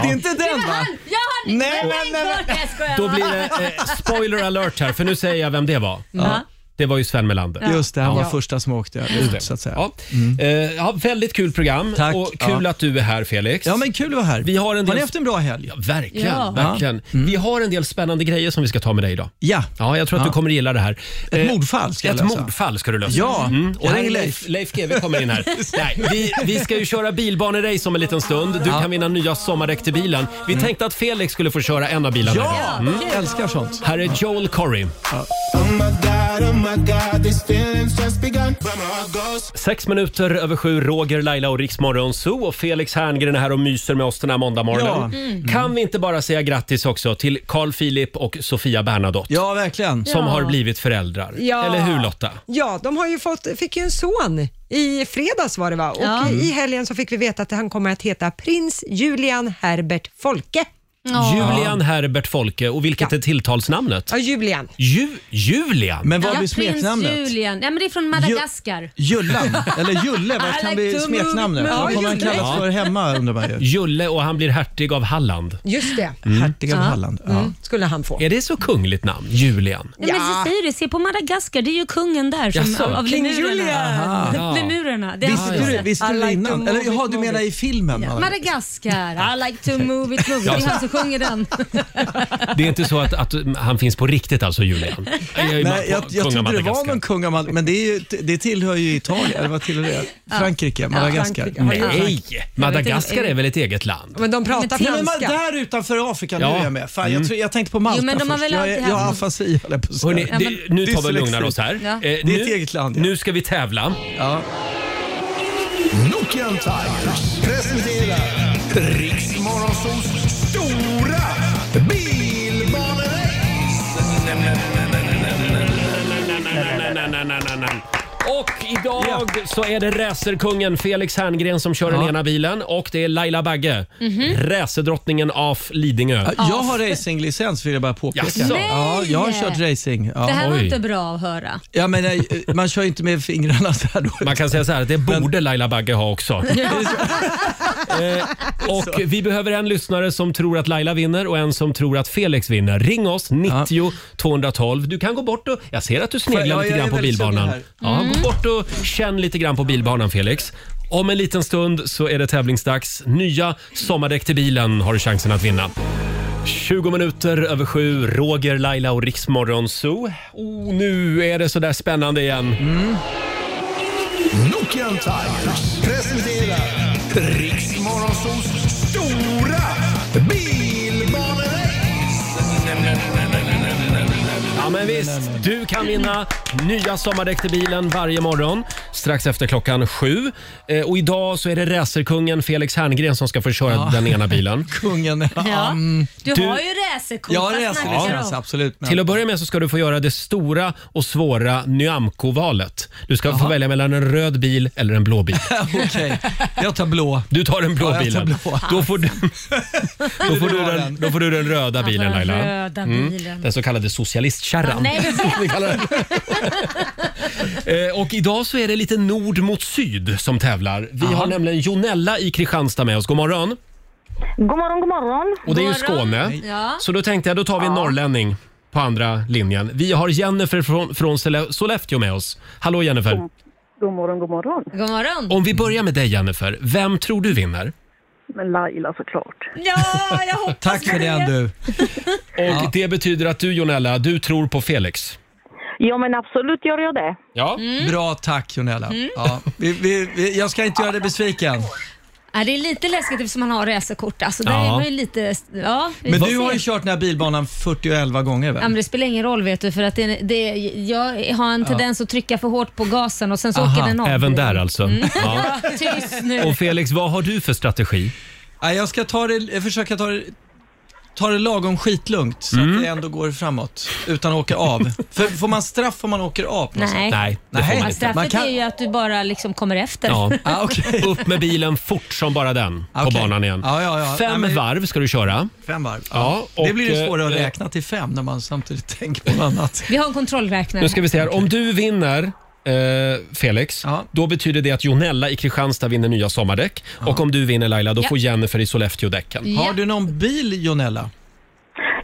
S7: det är inte den va?
S4: Han, ja, han,
S7: Nej,
S4: nej,
S7: men-
S4: nej, nej,
S7: men-
S4: jag skojar.
S1: Då blir det eh, spoiler alert här, för nu säger jag vem det var.
S4: Ja.
S1: Det var ju Sven Melander.
S7: Just det, han var
S1: Ja.
S7: första som åkte ut så att säga. Mm.
S1: Ja. Eh, ja, väldigt kul program
S7: Tack.
S1: och kul
S7: Ja.
S1: att du är här Felix.
S7: Ja, men kul att vara här.
S1: Vi har en del-
S7: ni haft en bra helg?
S1: Ja, verkligen,
S4: Ja.
S1: verkligen. Vi har en del spännande grejer som vi ska ta med dig idag.
S7: Mm. Ja.
S1: Ja, jag tror att
S7: Ja.
S1: du kommer gilla det här.
S7: Ett
S1: Eh,
S7: mordfall ska jag
S1: Ett
S7: lösa.
S1: mordfall ska du lösa. Mm.
S7: Ja.
S1: Och
S7: Jag
S1: här är
S7: ringer
S1: Leif,
S7: Leif.
S1: Leif GW kommer in här. Nej, vi, vi ska ju köra bilbanerace om en liten stund. Du kan vinna nya sommardäck till bilen. Vi tänkte att Felix skulle få köra en av bilarna.
S7: Mm.
S1: Mm.
S7: Ja, mm. jag älskar sånt.
S1: Här är Joel Corry. Sex minuter över sju, Roger, Laila och Riksmorgon Zoo och Felix Herngren är här och myser med oss den här måndagmorgonen.
S7: Ja.
S2: Mm.
S7: Mm.
S1: Kan vi inte bara säga grattis också till Carl Philip och Sofia Bernadotte
S7: Ja, verkligen.
S1: som har blivit föräldrar?
S2: Ja.
S1: Eller hur Lotta?
S2: Ja, de har ju fått, fick ju en son i fredags var det va? Och
S4: Ja.
S2: i helgen så fick vi veta att han kommer att heta prins Julian Herbert Folke.
S1: Julian Herbert Folke och vilket är tilltalsnamnet?
S2: Ja, Julian.
S1: Ju Julian?
S7: Men vad
S4: Ja,
S7: blir
S4: prins
S7: smeknamnet?
S4: Julian. Nej, men det är från Madagaskar.
S7: Jullan, eller Julle, vad
S4: I
S7: kan
S4: like
S7: bli
S4: to move
S7: smeknamnet?
S2: my-
S7: Vad kommer han
S2: Ja, Julle.
S7: kallas för hemma undrar man
S4: Mm.
S7: ju.
S1: Julle och han blir hertig av Halland.
S2: Just det,
S1: Mm.
S7: Hertig av Halland.
S4: Mm.
S7: Ja.
S2: skulle han få.
S1: Är det så kungligt namn? Julian?
S4: Nej, men så säger du, se på Madagaskar, det är ju kungen där som,
S1: Jaså,
S4: av, av
S2: King
S4: lemurerna.
S1: Aha.
S4: Lemurerna. Det är alltså
S7: Visste
S4: hans-
S7: du, visste
S2: I
S7: du
S2: like
S7: det
S2: to
S7: innan?
S2: move
S7: Eller
S2: it,
S7: jaha, du
S2: move
S7: menar i filmen? menar du?
S4: Madagaskar, I like to move it, move it. Det är han som sjunger den.
S1: Det är inte så att, att han finns på riktigt alltså, Julian? Jag, är ju
S7: Nej, jag,
S1: på- kung
S7: jag
S1: av
S7: trodde det var
S1: Madagaskar.
S7: någon kung av Mad- men det, är ju, det tillhör ju Italien, eller vad tillhör det? Frankrike, Madagaskar.
S2: Frankrike. Nej.
S1: Nej, Madagaskar
S4: inte.
S1: är väl ett eget land?
S2: Men de pratar
S4: till-
S7: Men man,
S2: franska.
S7: där utanför Afrika, nu
S1: Ja. Mm.
S7: är jag med. Fan, jag, tror, jag tänkte på Malta
S4: Jo, men de har
S7: först.
S4: väl
S7: jag,
S4: alltid
S7: jag har
S4: haft-
S7: afasi, höll jag på att säga.
S1: Hörrni,
S4: men-
S1: det, nu tar vi och lugnar oss här.
S4: Ja.
S1: Eh,
S4: Det är ett
S1: nu,
S7: eget land, ja.
S1: Nu ska vi tävla.
S3: Nokian Tigers presenterar Riksmorgonsols stora bilbanerace.
S1: Och idag så är det racerkungen Felix Herngren som kör den ena bilen och det är Laila Bagge,
S7: Mhm.
S1: racerdrottningen av Lidingö.
S7: Ja, Jag har racinglicens vill jag bara påpeka.
S1: Jaså?
S7: Ja, jag har
S4: Nej.
S7: kört racing.
S4: Det
S7: Ja.
S4: här var
S1: Oj.
S4: inte bra att höra.
S7: Ja, men, eh, man kör ju inte med fingrarna så här då.
S1: Man kan säga så här, det borde Laila Bagge ha också. Eh, och vi behöver en lyssnare som tror att Laila vinner och en som tror att Felix vinner. Ring oss, 90 212. Du kan gå bort och... Jag ser att du sneglar
S7: Ja, jag
S1: lite
S7: är
S1: grann på
S7: väldigt sugen
S1: bilbanan.
S7: här. Mm.
S1: Ja, gå bort och känn lite grann på bilbanan, Felix. Om en liten stund så är det tävlingsdags. Nya sommardäck till bilen har du chansen att vinna. 20 minuter över sju, Roger, Laila och Riksmorgon Zoo. Oh, nu är det sådär spännande igen.
S3: Nokian Tigers presenterar Riksmorgonsols stora bilbanerace.
S1: Ja, men visst, du kan vinna nya sommardäck till bilen varje morgon strax efter klockan sju. Eh, och idag så är det racerkungen Felix Herngren som ska få köra den ena bilen.
S7: Kungen.
S4: Ja.
S7: Mm.
S4: Du,
S1: Du-
S4: har ju racerkort.
S7: Jag
S4: vad snackar du om?
S7: reser, ja. alltså, absolut. Men
S1: Till att börja med så ska du få göra det stora och svåra Nyamko-valet. Du ska få välja mellan en röd bil eller en blå bil.
S7: Okej, jag tar blå.
S1: Du tar den blå
S7: Ja, jag tar
S1: bilen.
S7: blå.
S1: Då får du, då får du,
S7: ha
S1: den,
S7: den?
S1: då får du den röda bilen
S4: den
S1: Laila.
S4: röda
S7: Mm.
S4: bilen.
S1: Den så kallade socialistkärran.
S4: Nej, det
S1: Vi kallar den. Eh, Och idag så är det lite nord mot syd som tävlar. Vi har nämligen Jonella i Kristianstad med oss. God morgon.
S6: God morgon, god morgon.
S1: Och det är ju
S4: God morgon.
S1: Skåne.
S4: Ja.
S1: Så då tänkte jag, då tar vi en norrlänning på andra linjen. Vi har Jennifer från, från Sele- Sollefteå med oss. Hallå Jennifer.
S6: God morgon, god morgon.
S4: God morgon.
S1: Om vi börjar med dig Jennifer, vem tror du vinner?
S6: Men Laila såklart.
S4: Ja, jag hoppas
S7: Tack för den du.
S1: Och det betyder att du Jonella, du tror på Felix.
S6: Ja, men absolut gör jag det.
S1: Ja.
S7: Bra tack Jonella. Ja, vi, vi, vi, jag ska inte göra dig besviken.
S4: Ja, det är lite läskigt eftersom man har racerkort. Alltså, där
S1: Ja.
S4: är man ju lite... Ja, vi
S7: Men
S4: får
S7: du har
S4: se.
S7: ju kört den här bilbanan 40 och 11 gånger
S4: Ja, men
S7: väl?
S4: det spelar ingen roll vet du för att det, det, jag har en tendens att trycka för hårt på gasen och sen så
S7: Aha,
S4: åker den av.
S1: Även där alltså. Ja.
S4: Ja, tyst nu.
S1: Och Felix, vad har du för strategi?
S7: Ja, jag ska ta det, jag försöka ta det, ta det lagom skitlugnt så att det ändå går framåt utan att åka av. för får man straff om man åker av? på något sätt?
S4: Nej.
S1: Nej, det får
S7: Nej.
S1: man
S4: Men
S1: inte.
S4: straffet
S7: Man kan-
S4: är ju att du bara liksom kommer efter.
S1: Ja.
S7: Ah, okej. Ah,
S1: Upp med bilen fort som bara den på
S7: Okej.
S1: banan igen.
S7: Ja, ja, ja.
S1: Fem
S7: Nej, men-
S1: varv ska du köra.
S7: Fem varv.
S1: Ja,
S7: det
S1: och,
S7: blir ju svårare att
S1: eh,
S7: räkna till fem när man samtidigt tänker på något annat.
S4: Vi har en kontrollräknare.
S1: Nu ska vi se här. Om du vinner eh, Felix,
S7: Ja.
S1: då betyder det att Jonella i Kristianstad vinner nya sommardäck. Och om du vinner Laila, då
S4: Ja.
S1: får Jennifer i Sollefteå däcken.
S4: Ja.
S7: Har du någon bil Jonella?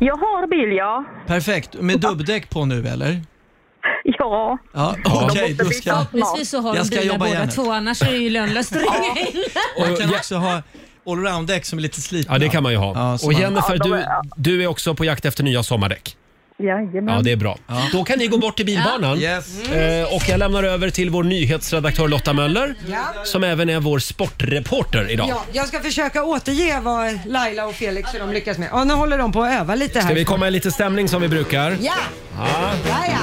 S6: Jag har bil, ja.
S7: Perfekt. Med dubbdäck på nu eller?
S6: Ja.
S7: Ja, okej.
S6: måste
S7: då
S6: bli
S7: ska...
S6: snabbt.
S4: Förhoppningsvis så har
S7: Jag
S4: de
S7: ska
S4: bilar
S7: jobba
S4: båda
S7: igen.
S4: två annars är det ju lönlöst att ringa in.
S7: Man kan också ha allround-däck som är lite slitna.
S1: Ja, det kan man ju ha.
S7: Ja, så
S1: och
S7: man-
S1: Jennifer,
S6: Ja, de
S1: du,
S6: är-
S1: du är också på jakt efter nya sommardäck.
S6: Jajamän.
S1: Ja, det är bra. Då kan ni gå bort till bilbanan.
S7: Yes.
S1: Eh, och jag lämnar över till vår nyhetsredaktör Lotta Möller, som även är vår sportreporter idag.
S2: Ja, jag ska försöka återge vad Laila och Felix hur de lyckas med. Ja, nu håller de på att öva lite här.
S1: Ska vi komma i lite stämning som vi brukar?
S2: Ja! Ja, ja.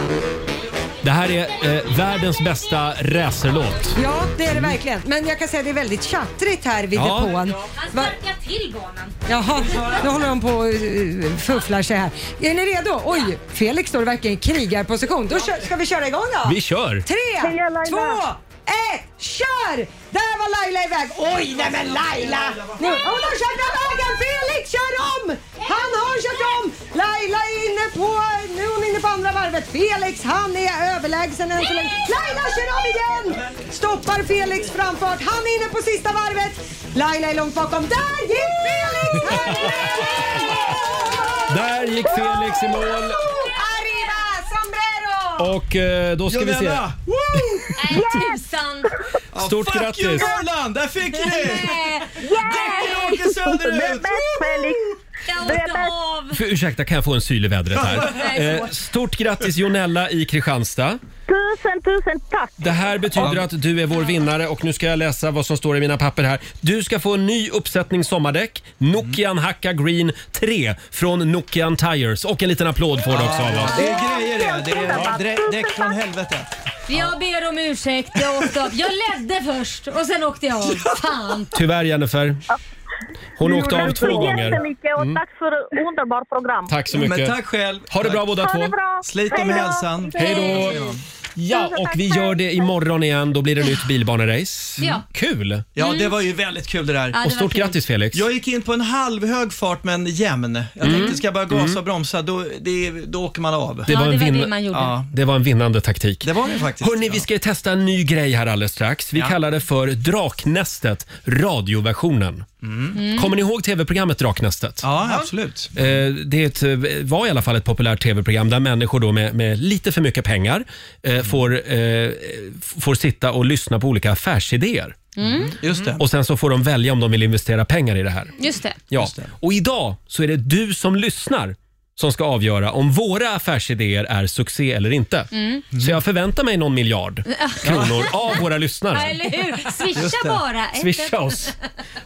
S1: Det här är eh, världens bästa racerlåt.
S2: ja, det är det verkligen. Men jag kan säga att det är väldigt tjattrigt här vid
S1: Ja.
S2: depån. Va-
S4: till banan.
S2: Jaha, nu håller de på och eh, fufflar sig här. Är ni redo? Oj, Felix står verkligen i krigarposition. Då kö- ska vi köra igång då?
S1: Vi kör!
S2: Tre,
S6: Heja, Laila!
S2: två, ett, kör! Där var Laila iväg. Oj, nej men Laila! Nu, hon har kört av vägen. Felix kör om! Han har kört om! Laila är inne på, nu är hon inne på andra varvet. Felix, han är överlägsen än så länge. Laila kör om igen! Stoppar Felix framfart. Han är inne på sista varvet. Laila är långt bakom. Där gick Felix! Han
S1: Där gick Felix i mål.
S2: Arriba, sombrero!
S1: Och eh, då ska vi se.
S7: Jonella!
S4: Nej, tusan.
S1: Stort
S7: Fuck you
S1: grattis!
S7: Norrland! Där fick ni det!
S4: Nej,
S7: Däcken åker
S6: Du är
S7: söderut!
S6: bäst, Felix.
S4: jag åkte av.
S1: För, ursäkta, kan jag få en syl i vädret här? Eh, stort grattis Jonella i Kristianstad.
S6: Tusen, tusen tack.
S1: Det här betyder att du är vår vinnare och nu ska jag läsa vad som står i mina papper här. Du ska få en ny uppsättning sommardäck, Nokian Hakka Green 3 från Nokian Tires. Och en liten applåd får du också av oss.
S7: Det är grejer det. Det är drä- däck från helvete.
S4: Jag ber om ursäkt, jag åkte av. Jag ledde först och sen åkte jag av. Fan.
S1: Tyvärr Jennifer. Hon åkte av två gånger. Mm.
S6: Jättemycket och tack för underbart program.
S1: Tack så
S7: Men
S1: mycket.
S7: tack själv.
S1: Ha det bra båda
S6: Ha det
S1: två.
S6: bra.
S7: Slit om
S6: Hej då.
S7: hälsan.
S1: Hej då. Ja, och vi gör det imorgon igen. Då blir det nytt bilbanerace. Mm.
S4: Ja.
S1: Kul!
S7: Ja, det var ju väldigt kul det där.
S4: Ja, det
S1: Och
S4: var
S1: stort
S4: kul.
S1: grattis Felix.
S7: Jag gick in på en halvhög fart men jämn. Jag tänkte ska jag börja gasa och bromsa då, det, då åker man av.
S1: Det
S4: Ja,
S1: var
S4: Mm. det
S1: en,
S4: var det
S1: vin-
S4: man gjorde.
S7: Ja,
S1: det var en vinnande taktik.
S7: det var det faktiskt.
S1: Hörni, vi ska testa en ny grej här alldeles strax. Vi
S7: Ja.
S1: kallar det för Draknästet, radioversionen. Kommer ni ihåg tv-programmet Draknästet?
S7: Mm. Ja, absolut.
S1: Eh, Det är ett, eh, var i alla fall ett populärt tv-program där människor då med, med lite för mycket pengar eh,
S7: Mm.
S1: får, eh, f- får sitta och lyssna på olika affärsidéer.
S7: Just det.
S1: Och Sen så får de välja om de vill investera pengar i det här.
S4: Just det.
S1: Ja. Och idag så är det du som lyssnar som ska avgöra om våra affärsidéer är succé eller inte. Så jag förväntar mig någon miljard kronor av våra lyssnare.
S4: Ja, Eller hur?
S7: Just
S4: Swisha
S7: det.
S4: bara. Ett-
S1: Swisha oss.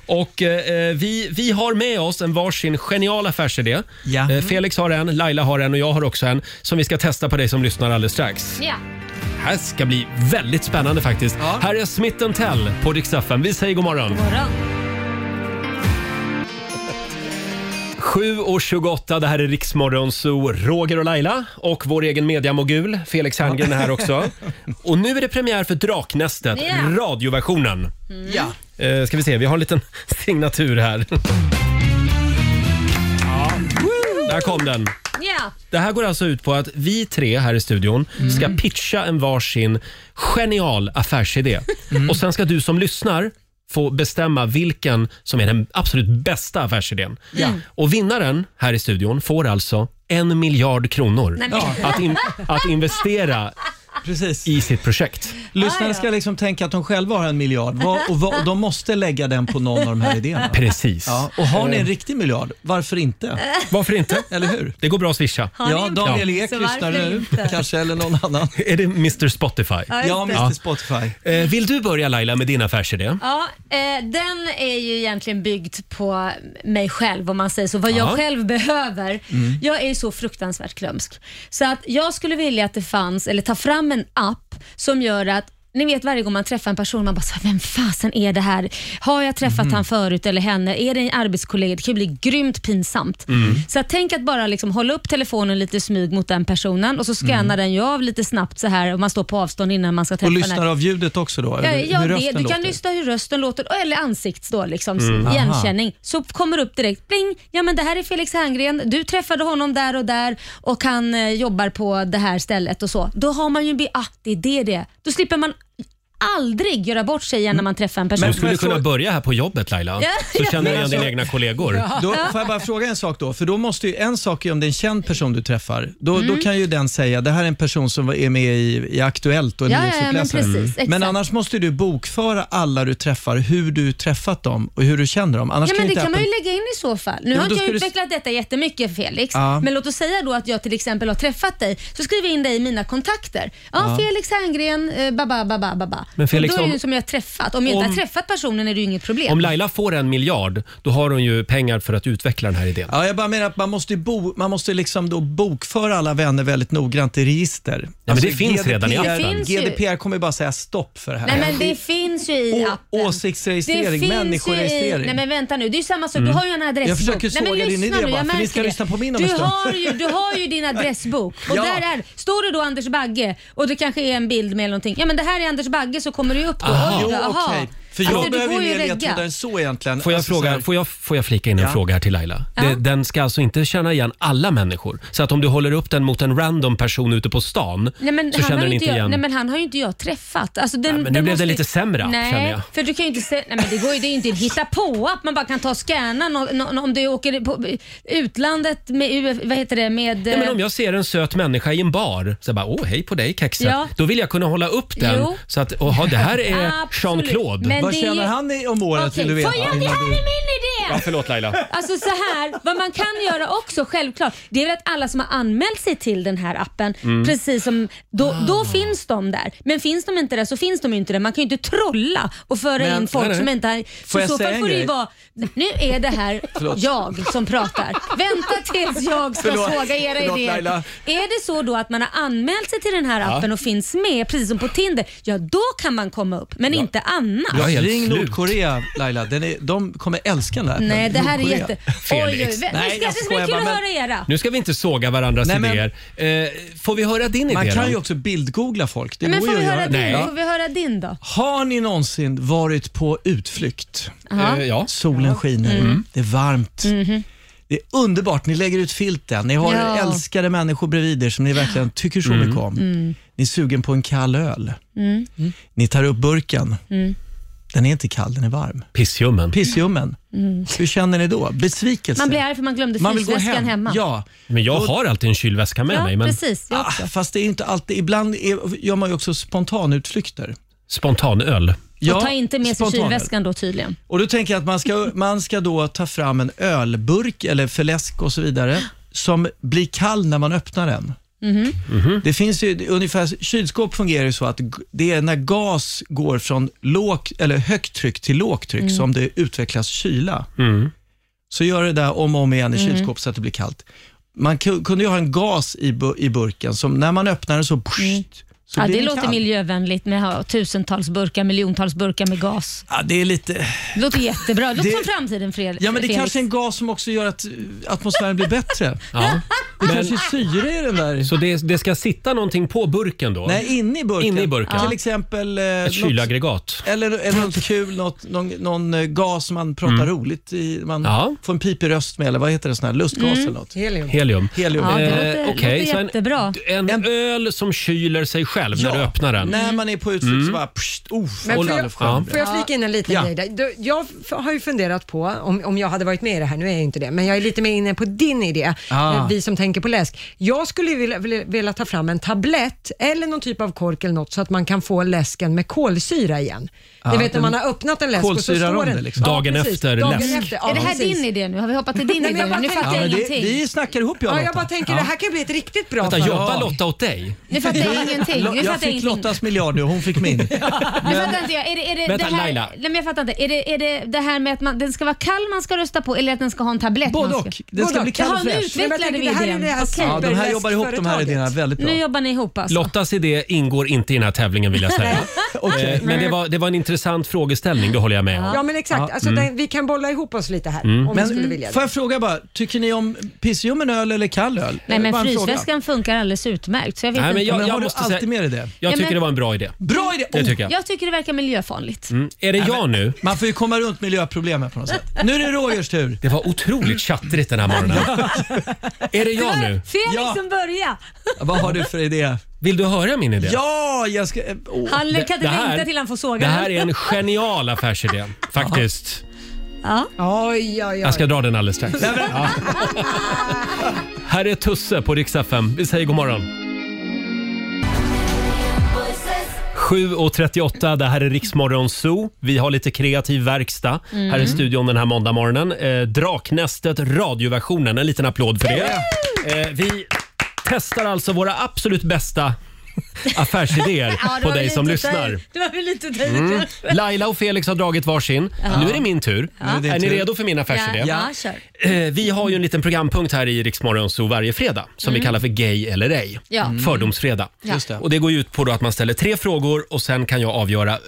S1: Och eh, vi, vi har med oss en varsin genial affärsidé.
S7: Ja.
S1: Eh, Felix har en, Laila har en och jag har också en som vi ska testa på dig som lyssnar alldeles strax.
S4: Ja.
S1: Det här ska bli väldigt spännande faktiskt.
S7: Ja.
S1: Här är Smith Tell på Dix FM. Vi säger god morgon.
S4: Morgon.
S1: 7.28, det här är Riksmorgon Zoo, Roger och Laila och vår egen mediamogul Felix Herngren är här också. Och nu är det premiär för Draknästet,
S4: Ja.
S1: radioversionen.
S7: Ja.
S1: Eh, ska vi se, vi har en liten signatur här. Ja. Där kom den.
S4: Ja.
S1: Det här går alltså ut på att vi tre här i studion
S7: Mm.
S1: ska pitcha en varsin genial affärsidé.
S7: Mm.
S1: Och sen ska du som lyssnar få bestämma vilken som är den absolut bästa affärsidén. Och vinnaren här i studion får alltså en miljard kronor
S4: Nej, men-
S1: att, in, att investera
S7: Precis.
S1: i sitt projekt.
S7: Lyssnarna
S4: Ja, ja.
S7: ska liksom tänka att de själva har en miljard vad, och, vad, och de måste lägga den på någon av de här idéerna.
S1: Precis. Eh,
S7: Ja, och har
S4: Eh.
S7: ni en riktig miljard, varför inte?
S1: Varför inte?
S7: Eller hur?
S1: Det går bra att swisha.
S4: ni
S7: Ja,
S4: en
S7: Daniel
S4: plan
S7: Ek
S4: så
S7: lyssnar
S4: varför
S7: nu
S4: inte?
S7: kanske, eller någon annan.
S1: Är det Mr Spotify?
S4: just
S7: Ja,
S4: det.
S7: Mr Spotify.
S1: Eh, vill du börja Laila med din affärsidé?
S4: Ja, eh, den är ju egentligen byggd på mig själv om man säger så. Vad jag
S1: Ja.
S4: själv behöver.
S7: Mm.
S4: Jag är ju så fruktansvärt glömsk. Så att jag skulle vilja att det fanns, eller ta fram en app som gör att ni vet varje gång man träffar en person, man bara så här, vem fasen är det här? Har jag träffat
S7: Mm.
S4: han förut eller henne? Är det en arbetskollega? Det kan ju bli grymt pinsamt.
S7: Mm.
S4: Så att tänk att bara liksom hålla upp telefonen lite i smyg mot den personen och så scannar den ju av lite snabbt så här och man står på avstånd innan man ska träffa
S7: Mm. Och
S4: den här
S7: lyssnar av ljudet också då?
S4: Ja,
S7: eller
S4: ja,
S7: hur
S4: det,
S7: rösten
S4: du kan
S7: låter. Mm.
S4: lyssna hur rösten låter eller ansikts då, liksom, igenkänning. Så kommer upp direkt, bling, ja men det här är Felix Herngren, du träffade honom där och där och han eh, jobbar på det här stället och så. Då har man ju en bild, ah det är det det är. Då slipper man aldrig göra bort sig igen när man träffar en person.
S1: Du
S7: Men-
S1: skulle
S7: men så-
S1: kunna börja här på jobbet Laila,
S4: Ja,
S1: så känner du igen
S7: alltså-
S1: dina egna kollegor.
S7: Då får jag bara fråga en sak då? För då måste ju en sak är om det är en känd person du träffar. Då,
S4: Mm.
S7: då kan ju den säga, det här är en person som är med i, i Aktuellt och
S4: Ja, ja, ja,
S7: nyhetsuppläsare.
S4: men precis, exakt.
S7: men annars måste du bokföra alla du träffar, hur du träffat dem och hur du känner dem. Annars
S4: Ja,
S7: kan
S4: men
S7: ju
S4: det
S7: inte
S4: kan man ju
S7: appen-
S4: lägga in i så fall. Nu
S7: men
S4: har inte
S7: då
S4: jag
S7: ska du s-
S4: utvecklat detta jättemycket Felix,
S7: Ja.
S4: men låt oss säga då att jag till exempel har träffat dig, så skriver jag in dig i mina kontakter. Ja, Felix Herngren, eh, baba, baba, baba.
S1: Men Felix,
S4: då är det
S1: om-
S4: ju som jag har träffat. Om jag inte
S1: om-
S4: har träffat personen är det ju inget problem.
S1: Om Laila får en miljard, då har hon ju pengar för att utveckla den här idén.
S7: Ja, jag bara menar att man måste, ju bo, man måste liksom då bokföra alla vänner väldigt noggrant i register. Alltså, Ja,
S1: men det finns redan i
S4: appen. Det finns ju.
S7: GDPR kommer ju bara säga stopp för det här.
S4: Nej men det finns ju i
S7: Å-
S4: appen.
S7: åsiktsregistrering,
S4: Det finns ju
S7: människoregistrering. Mm.
S4: I, nej men vänta nu, det är ju samma sak. Du har ju en adressbok.
S7: Jag försöker
S4: Nej, men
S7: såga din
S4: lyssna
S7: idé
S4: nu,
S7: bara,
S4: jag
S7: för ni
S4: märker
S7: ska
S4: det.
S7: lyssna på min om
S4: du
S7: en stund.
S4: har, ju, du har ju din adressbok och
S7: Ja.
S4: där är, står det då Anders Bagge och det kanske är en bild med eller någonting. Ja men det här är Anders Bagge så kommer det ju upp då.
S1: Aha.
S4: Oj
S7: Jo,
S4: då, aha.
S7: okej. För jag
S4: Alltså, du
S7: behöver
S4: går
S7: ju mer
S4: regga.
S7: ledtrådar än så egentligen.
S1: Får jag,
S7: Alltså, så
S1: fråga,
S7: här-
S1: får jag, får jag flika in en
S7: Ja.
S1: fråga här till Laila? Det, den ska alltså inte känna igen alla människor? Så att om du håller upp den mot en random person ute på stan
S4: Nej men,
S1: så
S4: han
S1: känner
S4: har
S1: den
S4: ju
S1: inte igen?
S4: jag, nej men han har ju inte jag träffat. Alltså, den,
S1: Nej, men nu
S4: den
S1: blev
S4: måste-
S1: den lite sämre app,
S4: Nej,
S1: känner jag.
S4: för du kan ju inte säga, nej men det går ju det är ju inte en hitta på att man bara kan ta och scanna nå- nå- om du åker på utlandet med, U- vad heter det, med... eh,
S1: Nej, men om jag ser en söt människa i en bar, så jag bara åh hej på dig kexet.
S4: Ja.
S1: Då vill jag kunna hålla upp den
S4: Jo.
S1: så att aha, det här är
S4: Absolut.
S1: Jean-Claude.
S4: Men
S7: Vad
S4: det är ju-
S7: tjänar han i- om året
S4: Okej,
S7: vill du veta?
S4: Får jag, det
S7: innan
S4: här
S7: du-
S4: är min idé!
S1: Förlåt Laila.
S4: Alltså så här, vad man kan göra också självklart, det är väl att alla som har anmält sig till den här appen,
S7: Mm.
S4: precis som, då,
S7: Ah.
S4: då finns de där. Men finns de inte där så finns de ju inte där. Man kan ju inte trolla och föra
S7: Men-
S4: in folk
S1: nej, nej.
S4: som inte har... så
S7: Får jag
S4: så
S7: säga
S4: fall
S7: en
S4: får det ju
S7: grej?
S4: vara, nu är det här
S7: Förlåt.
S4: jag som pratar. Vänta tills jag ska
S7: Förlåt.
S4: såga era
S7: Förlåt,
S4: idéer.
S7: Laila.
S4: Är det så då att man har anmält sig till den här appen och finns med, precis som på Tinder, ja då kan man komma upp, men inte annars.
S1: Jag är helt
S7: Ring
S1: slut.
S7: Nordkorea Laila, den är, de kommer älska den här.
S4: Nej, det här är
S7: Nordkorea.
S4: jätte... Oj,
S1: Felix.
S4: oj, oj. Nu ska
S7: Nej, jag
S4: det ska bli
S7: skojar
S4: kul
S7: bara,
S4: att
S7: men-
S4: höra era.
S1: Nu ska vi inte såga varandras
S7: Nej, men-
S1: idéer. Eh, får vi höra din
S7: Man
S1: idé
S7: kan
S1: då?
S7: ju också bildgoogla folk. Det
S4: Men
S7: går
S4: får
S7: ju
S4: vi,
S7: att göra.
S4: höra din,
S1: Nej.
S4: får vi höra din då?
S7: Har ni någonsin varit på utflykt?
S4: Ja. Mm. Mm-hmm.
S1: eh, ja.
S7: Solen skiner,
S1: Mm.
S7: det är varmt. Det är underbart, ni lägger ut filten, ni har
S4: Ja.
S7: älskade människor bredvid er som ni verkligen tycker så
S1: Mm.
S7: mycket om.
S4: Mm.
S7: Ni är sugen på en kall öl. Ni tar upp burken.
S4: Mm.
S7: Den är inte kall, den är varm.
S1: Pissljummen.
S7: Pissljummen. Hur känner ni då? Besvikelse?
S4: Mm. Man blir arg för man glömde
S7: Man vill gå
S4: frysväskan
S7: hem.
S4: hemma.
S7: Ja,
S1: Men jag har alltid en kylväska med
S4: Ja,
S1: mig. Men
S4: precis. Jag
S7: ah,
S4: också.
S7: fast det är ju inte alltid. Ibland är, gör man ju också spontanutflykter.
S1: spontanöl.
S4: och ta inte med sig
S7: spontanöl.
S4: kylväskan då tydligen.
S7: Och då tänker jag att man ska, man ska då ta fram en ölburk eller för läsk och så vidare som blir kall när man öppnar den.
S4: Mhm.
S7: Det finns ju ungefär, kylskåp fungerar ju så att g- det är när gas går från låg, eller högt tryck till lågt
S4: Mm.
S7: tryck som det utvecklas kyla. Så gör det där om och om igen i
S4: Mm.
S7: kylskåp så att det blir kallt. Man ku- kunde ju ha en gas i, bu- i burken som när man öppnar den så, pssst, så
S4: Mm. Ja,
S7: blir
S4: det
S7: den
S4: låter
S7: kall.
S4: miljövänligt med att ha tusentals burkar, miljontals burkar med gas.
S7: Ja, det är lite...
S4: Det låter jättebra. Det låter
S7: Det-
S4: som framtiden Fred-
S7: Ja, men det
S4: Felix.
S7: kanske är en gas som också gör att eh, atmosfären blir bättre.
S1: Ja.
S7: Det kanske är syre i den där.
S1: Så det, det ska sitta någonting på burken då?
S7: Nej, inne i burken.
S1: Inne i burken.
S7: Till exempel... eh,
S1: Ett
S7: något,
S1: kylaggregat?
S7: eller, eller något kul, något, någon, någon eh, gas som man pratar roligt i. Man
S1: Mm. Ja.
S7: får en pipig röst med, eller vad heter det? Sån här lustgas eller något.
S2: Helium.
S1: Helium.
S7: Helium.
S4: Ja, det
S1: Eh,
S4: låter,
S1: okej,
S4: låter
S1: så en-
S4: jättebra.
S1: En öl som kyler sig själv när du öppnar den. Mm.
S7: När man är på utflykt så bara... Pst, oh,
S2: Men
S7: och
S2: får jag,
S7: lallefram.
S2: får jag flika in en liten
S7: Ja.
S2: grej där? Du, Jag f- har ju funderat på, om, om jag hade varit med i det här, nu är jag ju inte det, men jag är lite mer inne på din idé,
S7: Ah.
S2: eh, vi som tänker på läsk. Jag skulle ju vilja, vilja, vilja ta fram en tablett eller någon typ av kork eller något så att man kan få läsken med kolsyra igen. Ni vet när man har öppnat en läsk och så
S7: Ah, kolsyrar om
S2: står den...
S7: det liksom.
S1: Dagen
S2: precis.
S1: efter
S2: Dagen
S1: läsk.
S2: efter, ja,
S4: är det här
S2: precis.
S4: din idé nu? Har vi hoppat till din
S2: Nej, men
S4: idé
S2: jag bara
S4: nu? Nu
S2: tänkte-
S4: fattar
S7: Ja,
S4: jag
S7: men det,
S4: ingenting.
S7: vi snackar ihop jag och
S2: Ja, jag
S7: Lotta.
S2: bara tänker det här kan bli ett riktigt bra
S1: Vänta,
S2: fall.
S1: jobbar Lotta åt dig?
S4: Nu fattar jag ingenting.
S7: Lo-
S4: Nu
S7: Jag
S4: fattar jag
S7: fick
S4: ingenting.
S7: Lottas miljard nu, hon fick min.
S4: Nu fattar inte jag. Är det, är det,
S1: Vänta,
S4: det här,
S1: Laila.
S4: Nej, men jag fattar inte. Är det, är det det här med att man, den ska vara kall man ska rösta på eller att den ska ha en tablett?
S7: Både
S4: man ska...
S7: och. Den ska
S2: Både
S7: bli
S2: och.
S7: kall och
S4: Jaha, nu
S7: fräsch.
S2: Men jag
S4: Utvecklar
S2: tänker,
S4: du
S2: det här är
S4: idén?
S2: det här
S4: Okej.
S7: Ja, de här jobbar ihop de här
S2: superläskföretaget.
S7: idéerna väldigt bra.
S4: Nu jobbar ni ihop alltså.
S1: Lottas idé ingår inte i den här tävlingen vill jag säga.
S7: Okej.
S1: Eh, Men det var, det var en intressant frågeställning, det håller jag med om.
S2: Ja men exakt, alltså,
S7: Mm.
S2: den, vi kan bolla ihop oss lite här om vi skulle vilja
S7: Får
S2: det.
S7: jag fråga bara, tycker ni om pissljummen öl eller kall öl?
S1: Eh,
S4: Nej men
S7: Bara en fråga.
S4: frysväskan funkar alldeles utmärkt. Så jag, vet
S1: Nej, men
S4: inte.
S1: jag-
S7: Men har
S1: måste
S7: du
S1: säga-
S7: alltid med dig det?
S1: Jag
S4: Ja,
S1: tycker
S4: men-
S1: det var en bra idé.
S7: Bra idé!
S1: Det
S7: Oh,
S1: tycker jag. Mm.
S4: jag tycker det verkar miljöfarligt.
S1: Är det jag nu?
S7: Man får ju komma runt miljöproblemet på något sätt. Nu är det Rogers tur.
S1: Det var otroligt tjattrigt den här morgonen. Är det jag nu?
S4: Felix
S7: Ja.
S4: som börjar.
S7: Vad har du för idé?
S1: Vill du höra min idé?
S7: Ja, jag ska... eh, oh, åh.
S4: Han kan
S1: det
S4: inte
S1: här-
S4: vänta till han får såga
S1: Det här
S4: den.
S1: är en genial affärsidé faktiskt.
S4: Ja.
S2: Oj, oj,
S1: Jag
S2: oj.
S1: ska dra den alldeles strax. Ja. Här är Tusse på Rix FM. Vi säger god morgon. 7.38, det här är Riksmorgon Zoo. Vi har lite kreativ verkstad här
S4: Mm.
S1: i studion den här måndagmorgonen. Eh, Draknästet radioversionen, en liten applåd för det. Eh, vi testar alltså våra absolut bästa affärsidéer
S4: Ja, det
S1: på
S4: var
S1: dig
S4: väl
S1: som
S4: lite att ta
S1: lyssnar.
S4: i.
S1: Mm,
S4: Det var väl lite att ta i kanske.
S1: Laila och Felix har dragit varsin. Nu är det min tur.
S7: är det
S1: Är ni
S7: tur.
S1: redo för min affärsidé?
S4: Ja, ja, kör.
S1: Eh, Vi har ju en liten programpunkt här i Riksmorgon så varje fredag som vi kallar för Gay eller ej.
S4: Ja.
S1: Mm. Fördomsfredag.
S7: Just det.
S1: Och det går ju ut på då att man ställer tre frågor och sen kan jag avgöra eh,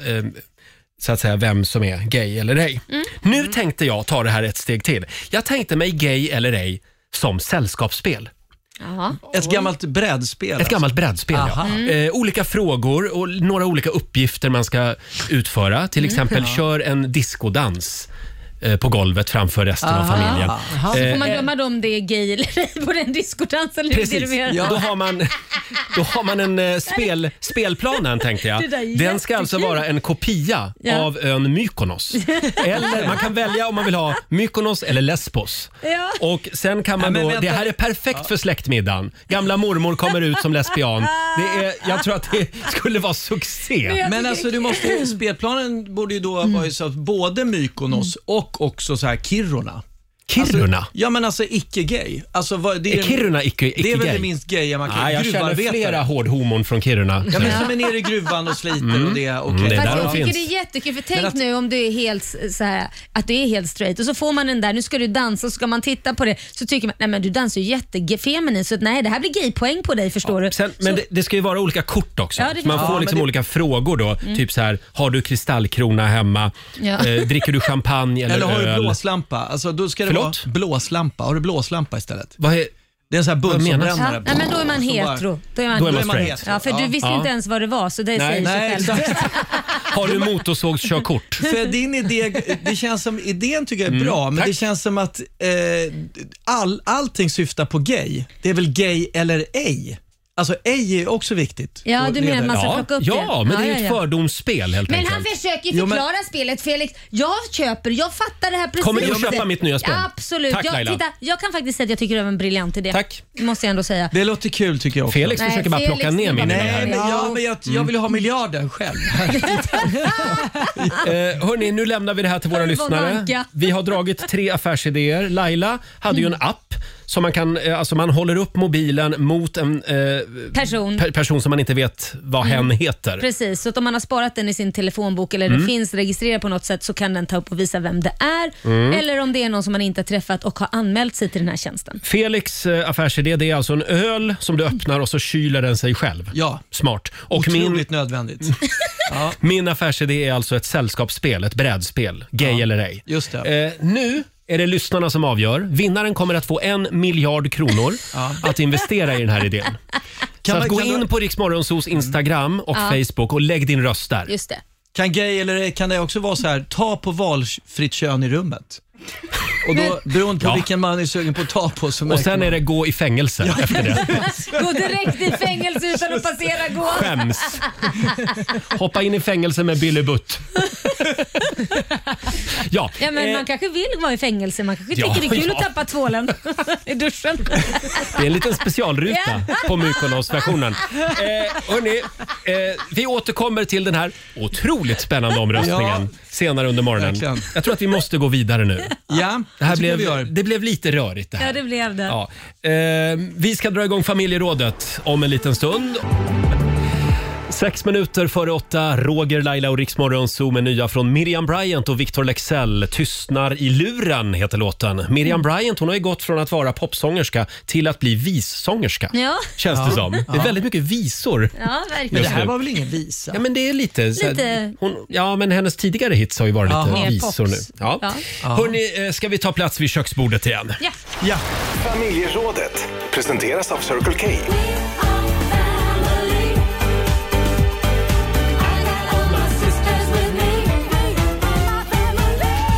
S1: så att säga vem som är gay eller ej. Nu tänkte jag ta det här ett steg till. Jag tänkte mig gay eller ej som sällskapsspel.
S4: Jaha.
S7: Ett gammalt brädspel.
S1: Ett gammalt brädspel. Ja.
S7: Alltså. Aha.
S1: Eh, olika frågor och några olika uppgifter man ska utföra. Till exempel kör en diskodans eh, på golvet framför resten av familjen.
S4: Får man döma då om det är gay eller ej på den diskodansen? eller är det
S1: eh, Precis.
S4: mer-
S1: Då, har man, då har man en eh, spel, spelplanen tänkte
S4: Det
S1: jag.
S4: där är
S1: Den ska alltså
S4: jättekul.
S1: vara en kopia
S4: Ja.
S1: av ön Mykonos. Eller man kan välja om man vill ha Mykonos eller Lesbos.
S4: Ja.
S1: Och sen kan man
S7: Nej, men
S1: då, det
S7: vänta.
S1: här är perfekt för släktmiddagen. Gamla mormor kommer ut som lesbian. Det är, jag tror att det skulle vara succé.
S7: Men alltså du måste, spelplanen borde ju
S4: Mm.
S7: då vara ju så att både Mykonos och också så här Kiruna.
S1: Kiruna.
S7: Ja men alltså icke-gay. Alltså, vad- det
S1: Är Kiruna icke-
S7: Det är väl
S1: icke-gay?
S7: det minst gaya man kan
S1: Nej, jag känner
S7: gruvarbetare.
S1: flera hårdhomon från Kiruna.
S7: Ja, men som är nere i gruvan och sliter och det. Okay.
S1: Mm. det är
S4: Fast
S1: där de
S4: jag tycker
S1: finns.
S4: det är jättekul för tänk
S7: att-
S4: nu om du är helt s- så här, att du är helt straight och så får man den där, nu ska du dansa och ska man titta på det så tycker man, nej men du dansar ju jättefeminin så att nej det här blir gaypoäng på dig förstår du.
S1: Sen, men
S4: så,
S1: det, det ska ju vara olika kort också.
S4: Ja, det
S1: så man
S4: finns-
S1: får
S4: Ja,
S1: liksom
S7: men det-
S1: olika frågor då. Typ så här, har du kristallkrona hemma?
S4: Ja.
S1: Eh, dricker du champagne eller,
S7: Eller har du
S1: öl?
S7: blåslampa? Alltså, då ska det
S1: Förlåt?
S7: vara blåslampa. Har du blåslampa istället?
S1: Vad är,
S7: Det är en sån här
S4: ja,
S7: bundsförbrännare.
S4: nej, men då är man
S7: Så bara-
S4: hetero. Då är man,
S1: Då är man
S7: Då är man
S1: straight.
S7: hetero.
S4: Ja, för du visste
S1: Ja.
S4: inte ens vad det var så det säger
S7: Nej,
S4: sig själv.
S7: exakt.
S1: har du motorsågskörkort?
S7: För din idé, det känns som, idén tycker
S1: Mm,
S7: jag är bra, men det känns som att eh, all, allting syftar på gay. Det är väl gay eller ej? Alltså ej är också viktigt.
S4: Ja,
S7: Och
S4: du menar
S7: leder-
S4: man ska
S1: Ja,
S4: plocka upp
S1: ja,
S4: det.
S1: men det är
S4: Ja,
S1: ju ett
S4: ja, ja.
S1: fördomsspel helt
S4: Men han
S1: enkelt.
S4: försöker
S7: Jo, men-
S4: förklara spelet Felix. Jag köper, jag fattar det här precis.
S1: Kommer du att köpa mitt nya spel?
S4: Absolut.
S1: Tack,
S4: jag,
S1: Laila.
S4: titta, jag kan faktiskt säga att jag tycker det var en briljant idé.
S1: Tack.
S4: Det måste jag ändå säga.
S7: Det låter kul tycker jag också.
S1: Felix
S4: Nej,
S1: försöker bara
S4: Felix
S1: plocka ner
S4: vill
S1: min
S4: bara-
S1: idé
S7: Nej,
S1: här. Mm.
S7: men, ja, men jag, jag vill ju ha miljarden själv.
S1: Eh, hörni, nu lämnar vi det här till våra
S4: Hör vad
S1: lyssnare.
S4: Anka. Mm.
S1: Vi har dragit tre affärsidéer. Laila hade ju en app som man kan, eh, alltså man håller upp mobilen mot en eh,
S4: Mm. Person.
S1: per, person som man inte vet vad
S4: Mm.
S1: hen heter.
S4: Precis, så att om man har sparat den i sin telefonbok eller
S1: Mm.
S4: den finns registrerad på något sätt så kan den ta upp och visa vem det är.
S1: Mm.
S4: Eller om det är någon som man inte har träffat och har anmält sig till den här tjänsten.
S1: Felix eh, affärsidé det är alltså en öl som du öppnar och så kyler den sig själv.
S7: Ja.
S1: Smart. Och min,
S7: Otroligt nödvändigt.
S1: min affärsidé är alltså ett sällskapsspel, ett brädspel. Gay eller ej.
S7: just det.
S1: Eh, nu är det lyssnarna som avgör. Vinnaren kommer att få en miljard kronor att investera i den här idén.
S7: Kan,
S1: så att
S7: man,
S1: gå
S7: kan,
S1: in
S7: du-
S1: på Riksmorgonsos Instagram och Facebook och lägg din röst där.
S4: Just det.
S7: kan gay eller ej, kan det också vara så här, ta på valfritt kön i rummet? Och då, beroende på
S1: Ja.
S7: vilken man är sugen på att ta på så
S1: Och
S7: märker
S1: sen
S7: man.
S1: är det gå i fängelse efter det.
S4: Gå direkt i fängelse utan att passera gå.
S1: Skäms. Hoppa in i fängelse med Billy Butt. ja,
S4: Ja, men
S1: eh,
S4: man kanske vill vara i fängelse, man kanske
S1: Ja,
S4: tycker det är kul
S1: ja.
S4: att tappa tvålen i duschen.
S1: det är en liten specialruta
S4: Ja.
S1: på Mykonos-versionen. Eh, hörni, eh, vi återkommer till den här otroligt spännande omröstningen senare under morgonen.
S7: Verkligen.
S1: Jag tror att vi måste gå vidare nu.
S7: Ja,
S1: Det, här
S7: tycker jag
S1: blev,
S7: vi gör.
S1: det blev lite rörigt det här.
S4: Ja, det blev det.
S1: Ja. Eh, vi ska dra igång familjerådet om en liten stund. Sex minuter före åtta, Roger, Laila och Riksmorgon Zoo med nya från Miriam Bryant och Victor Lexell. Tystnar i luren heter låten. Miriam
S4: Mm.
S1: Bryant hon har ju gått från att vara popsångerska till att bli vissångerska.
S4: Ja.
S1: Känns det som. Det är väldigt mycket visor.
S4: Ja,
S7: Men
S4: verkligen.
S7: det här
S1: nu.
S7: var väl ingen visa?
S1: Ja, men det är lite... så här-
S4: Lite-
S1: Hon, ja, men hennes tidigare hits har ju varit lite
S4: Mer
S1: visor nu.
S4: pops.
S1: Ja.
S4: Ja.
S1: Hörni, eh, ska vi ta plats vid köksbordet igen?
S4: Ja.
S7: Ja.
S3: Familjerådet presenteras av Circle K.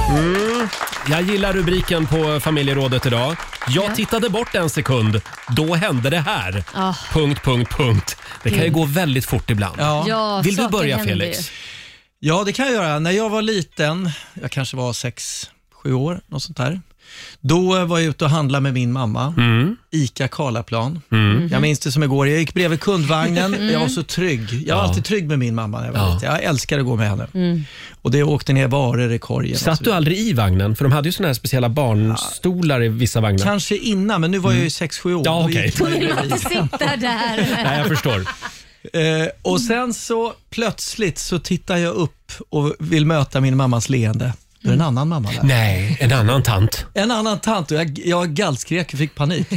S1: Mm. Jag gillar rubriken på familjerådet idag. Jag tittade bort en sekund, då hände det här.
S4: Ah.
S1: Punkt, punkt, punkt. Det kan ju gå väldigt fort ibland.
S7: Ja.
S4: Ja,
S1: Vill du
S4: saker
S1: börja
S4: händer
S1: Felix?
S4: ju.
S7: Ja, det kan jag göra. När jag var liten, jag kanske var sex, sju år, något sånt där. Då var jag ute och handlade med min mamma,
S1: Mm.
S7: ICA Karlaplan.
S1: Mhm.
S7: Jag minns det som igår. Jag gick bredvid kundvagnen. Jag var så trygg. Jag var alltid trygg med min mamma när jag var
S1: Ja.
S7: liten. Jag älskade att gå med henne. Och det åkte ner varor i korgen. och så
S1: Satt du
S7: vidare.
S1: aldrig i vagnen? För de hade ju såna här speciella barnstolar i vissa vagnar.
S7: Kanske innan, men nu var jag ju sex, sju år.
S1: Mm. Ja,
S7: Då
S1: okej.
S7: gick man ju
S4: Vill man
S7: bredvid.
S4: inte sitta där?
S1: Nej, jag förstår.
S7: Eh, och sen så plötsligt så tittar jag upp och vill möta min mammas leende. Då är det en annan mamma där.
S1: Mm. Nej, en annan tant.
S7: En annan tant och jag, jag gallskrek och fick panik.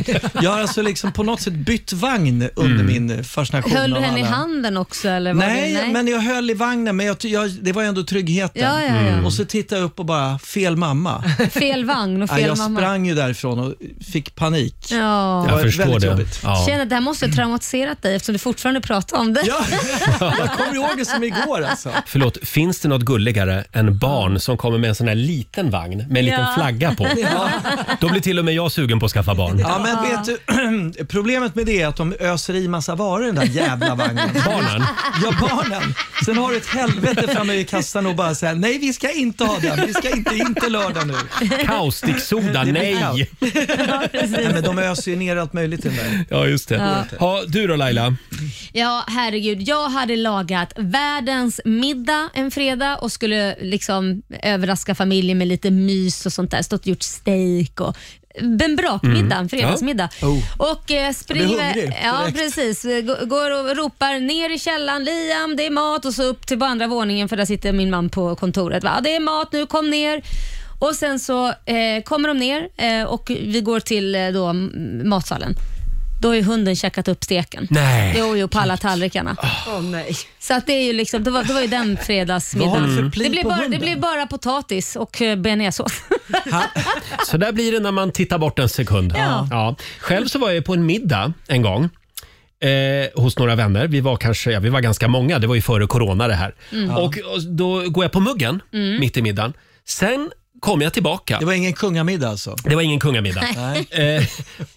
S7: Jag har alltså liksom på något sätt bytt vagn under
S1: Mm.
S7: min fascination.
S4: Höll du
S7: av
S4: henne i
S7: alla-
S4: handen också? Eller var
S7: Nej,
S4: det,
S7: men jag höll i vagnen, men jag, ty- jag, det var ju ändå tryggheten. Mm.
S4: Ja, ja, ja.
S7: Och så tittade jag upp och bara, fel mamma.
S4: Fel vagn och
S7: Ja,
S4: fel
S7: jag
S4: mamma.
S7: sprang ju därifrån och fick panik.
S4: Ja.
S7: Det
S1: Jag
S7: var
S1: förstår
S7: väldigt
S1: det.
S7: jobbigt.
S1: Ja.
S4: Känner att det här måste ha traumatiserat dig eftersom du fortfarande pratar om det.
S7: Ja, jag kommer ihåg det som igår alltså.
S1: Förlåt, finns det något gulligare än barn som kommer med en sån här liten vagn med en liten
S4: Ja.
S1: flagga på? Då blir till och med jag sugen på att skaffa barn.
S7: Ja, men vet du, problemet med det är att de öser i massa varor i den där jävla vagnen.
S1: Barnen?
S7: Ja, barnen. Sen har du ett helvete framme i kassan och bara säger nej vi ska inte ha den, vi ska inte, inte lördag nu.
S1: Kaustiksoda?
S7: Det blir
S1: Nej!
S7: kaos. Nej, men de öser ju ner allt möjligt i den där.
S1: Ja, just det. Ja. du då Laila?
S4: Ja, herregud. Jag hade lagat världens middag en fredag och skulle liksom överraska familjen med lite mys och sånt där. Stått och gjort steak och en brakmiddag, en fredagsmiddag. Och eh,
S7: hungrig
S4: springer, ja,
S7: direkt.
S4: precis. G- Går och ropar ner i källaren, Liam det är mat och så upp till på andra våningen för där sitter min man på kontoret. Va? "Ja, Det är mat nu, kom ner. Och sen så eh, kommer de ner eh, och vi går till eh, då, m- matsalen. Då har ju hunden käkat upp steken.
S1: Nej.
S4: Jo, jo, på alla tallrikarna.
S2: Åh nej.
S4: Så att det, är ju liksom, det, var, det var ju den
S7: Ah. Vad har du för
S4: fredagsmiddagen.
S7: pli
S4: Det blir,
S7: på
S4: bara, det
S7: hunden?
S4: blir bara potatis och eh, bearnaisesås.
S1: Så där blir det när man tittar bort en sekund.
S4: Ja.
S1: Själv så var jag på en middag en gång. Eh, hos några vänner. Vi var kanske, ja, vi var ganska många, det var ju före corona det här. Och, och då går jag på muggen mitt i middagen. Sen kom jag tillbaka.
S7: Det var ingen kungamiddag alltså?
S1: Det var ingen kungamiddag. Eh,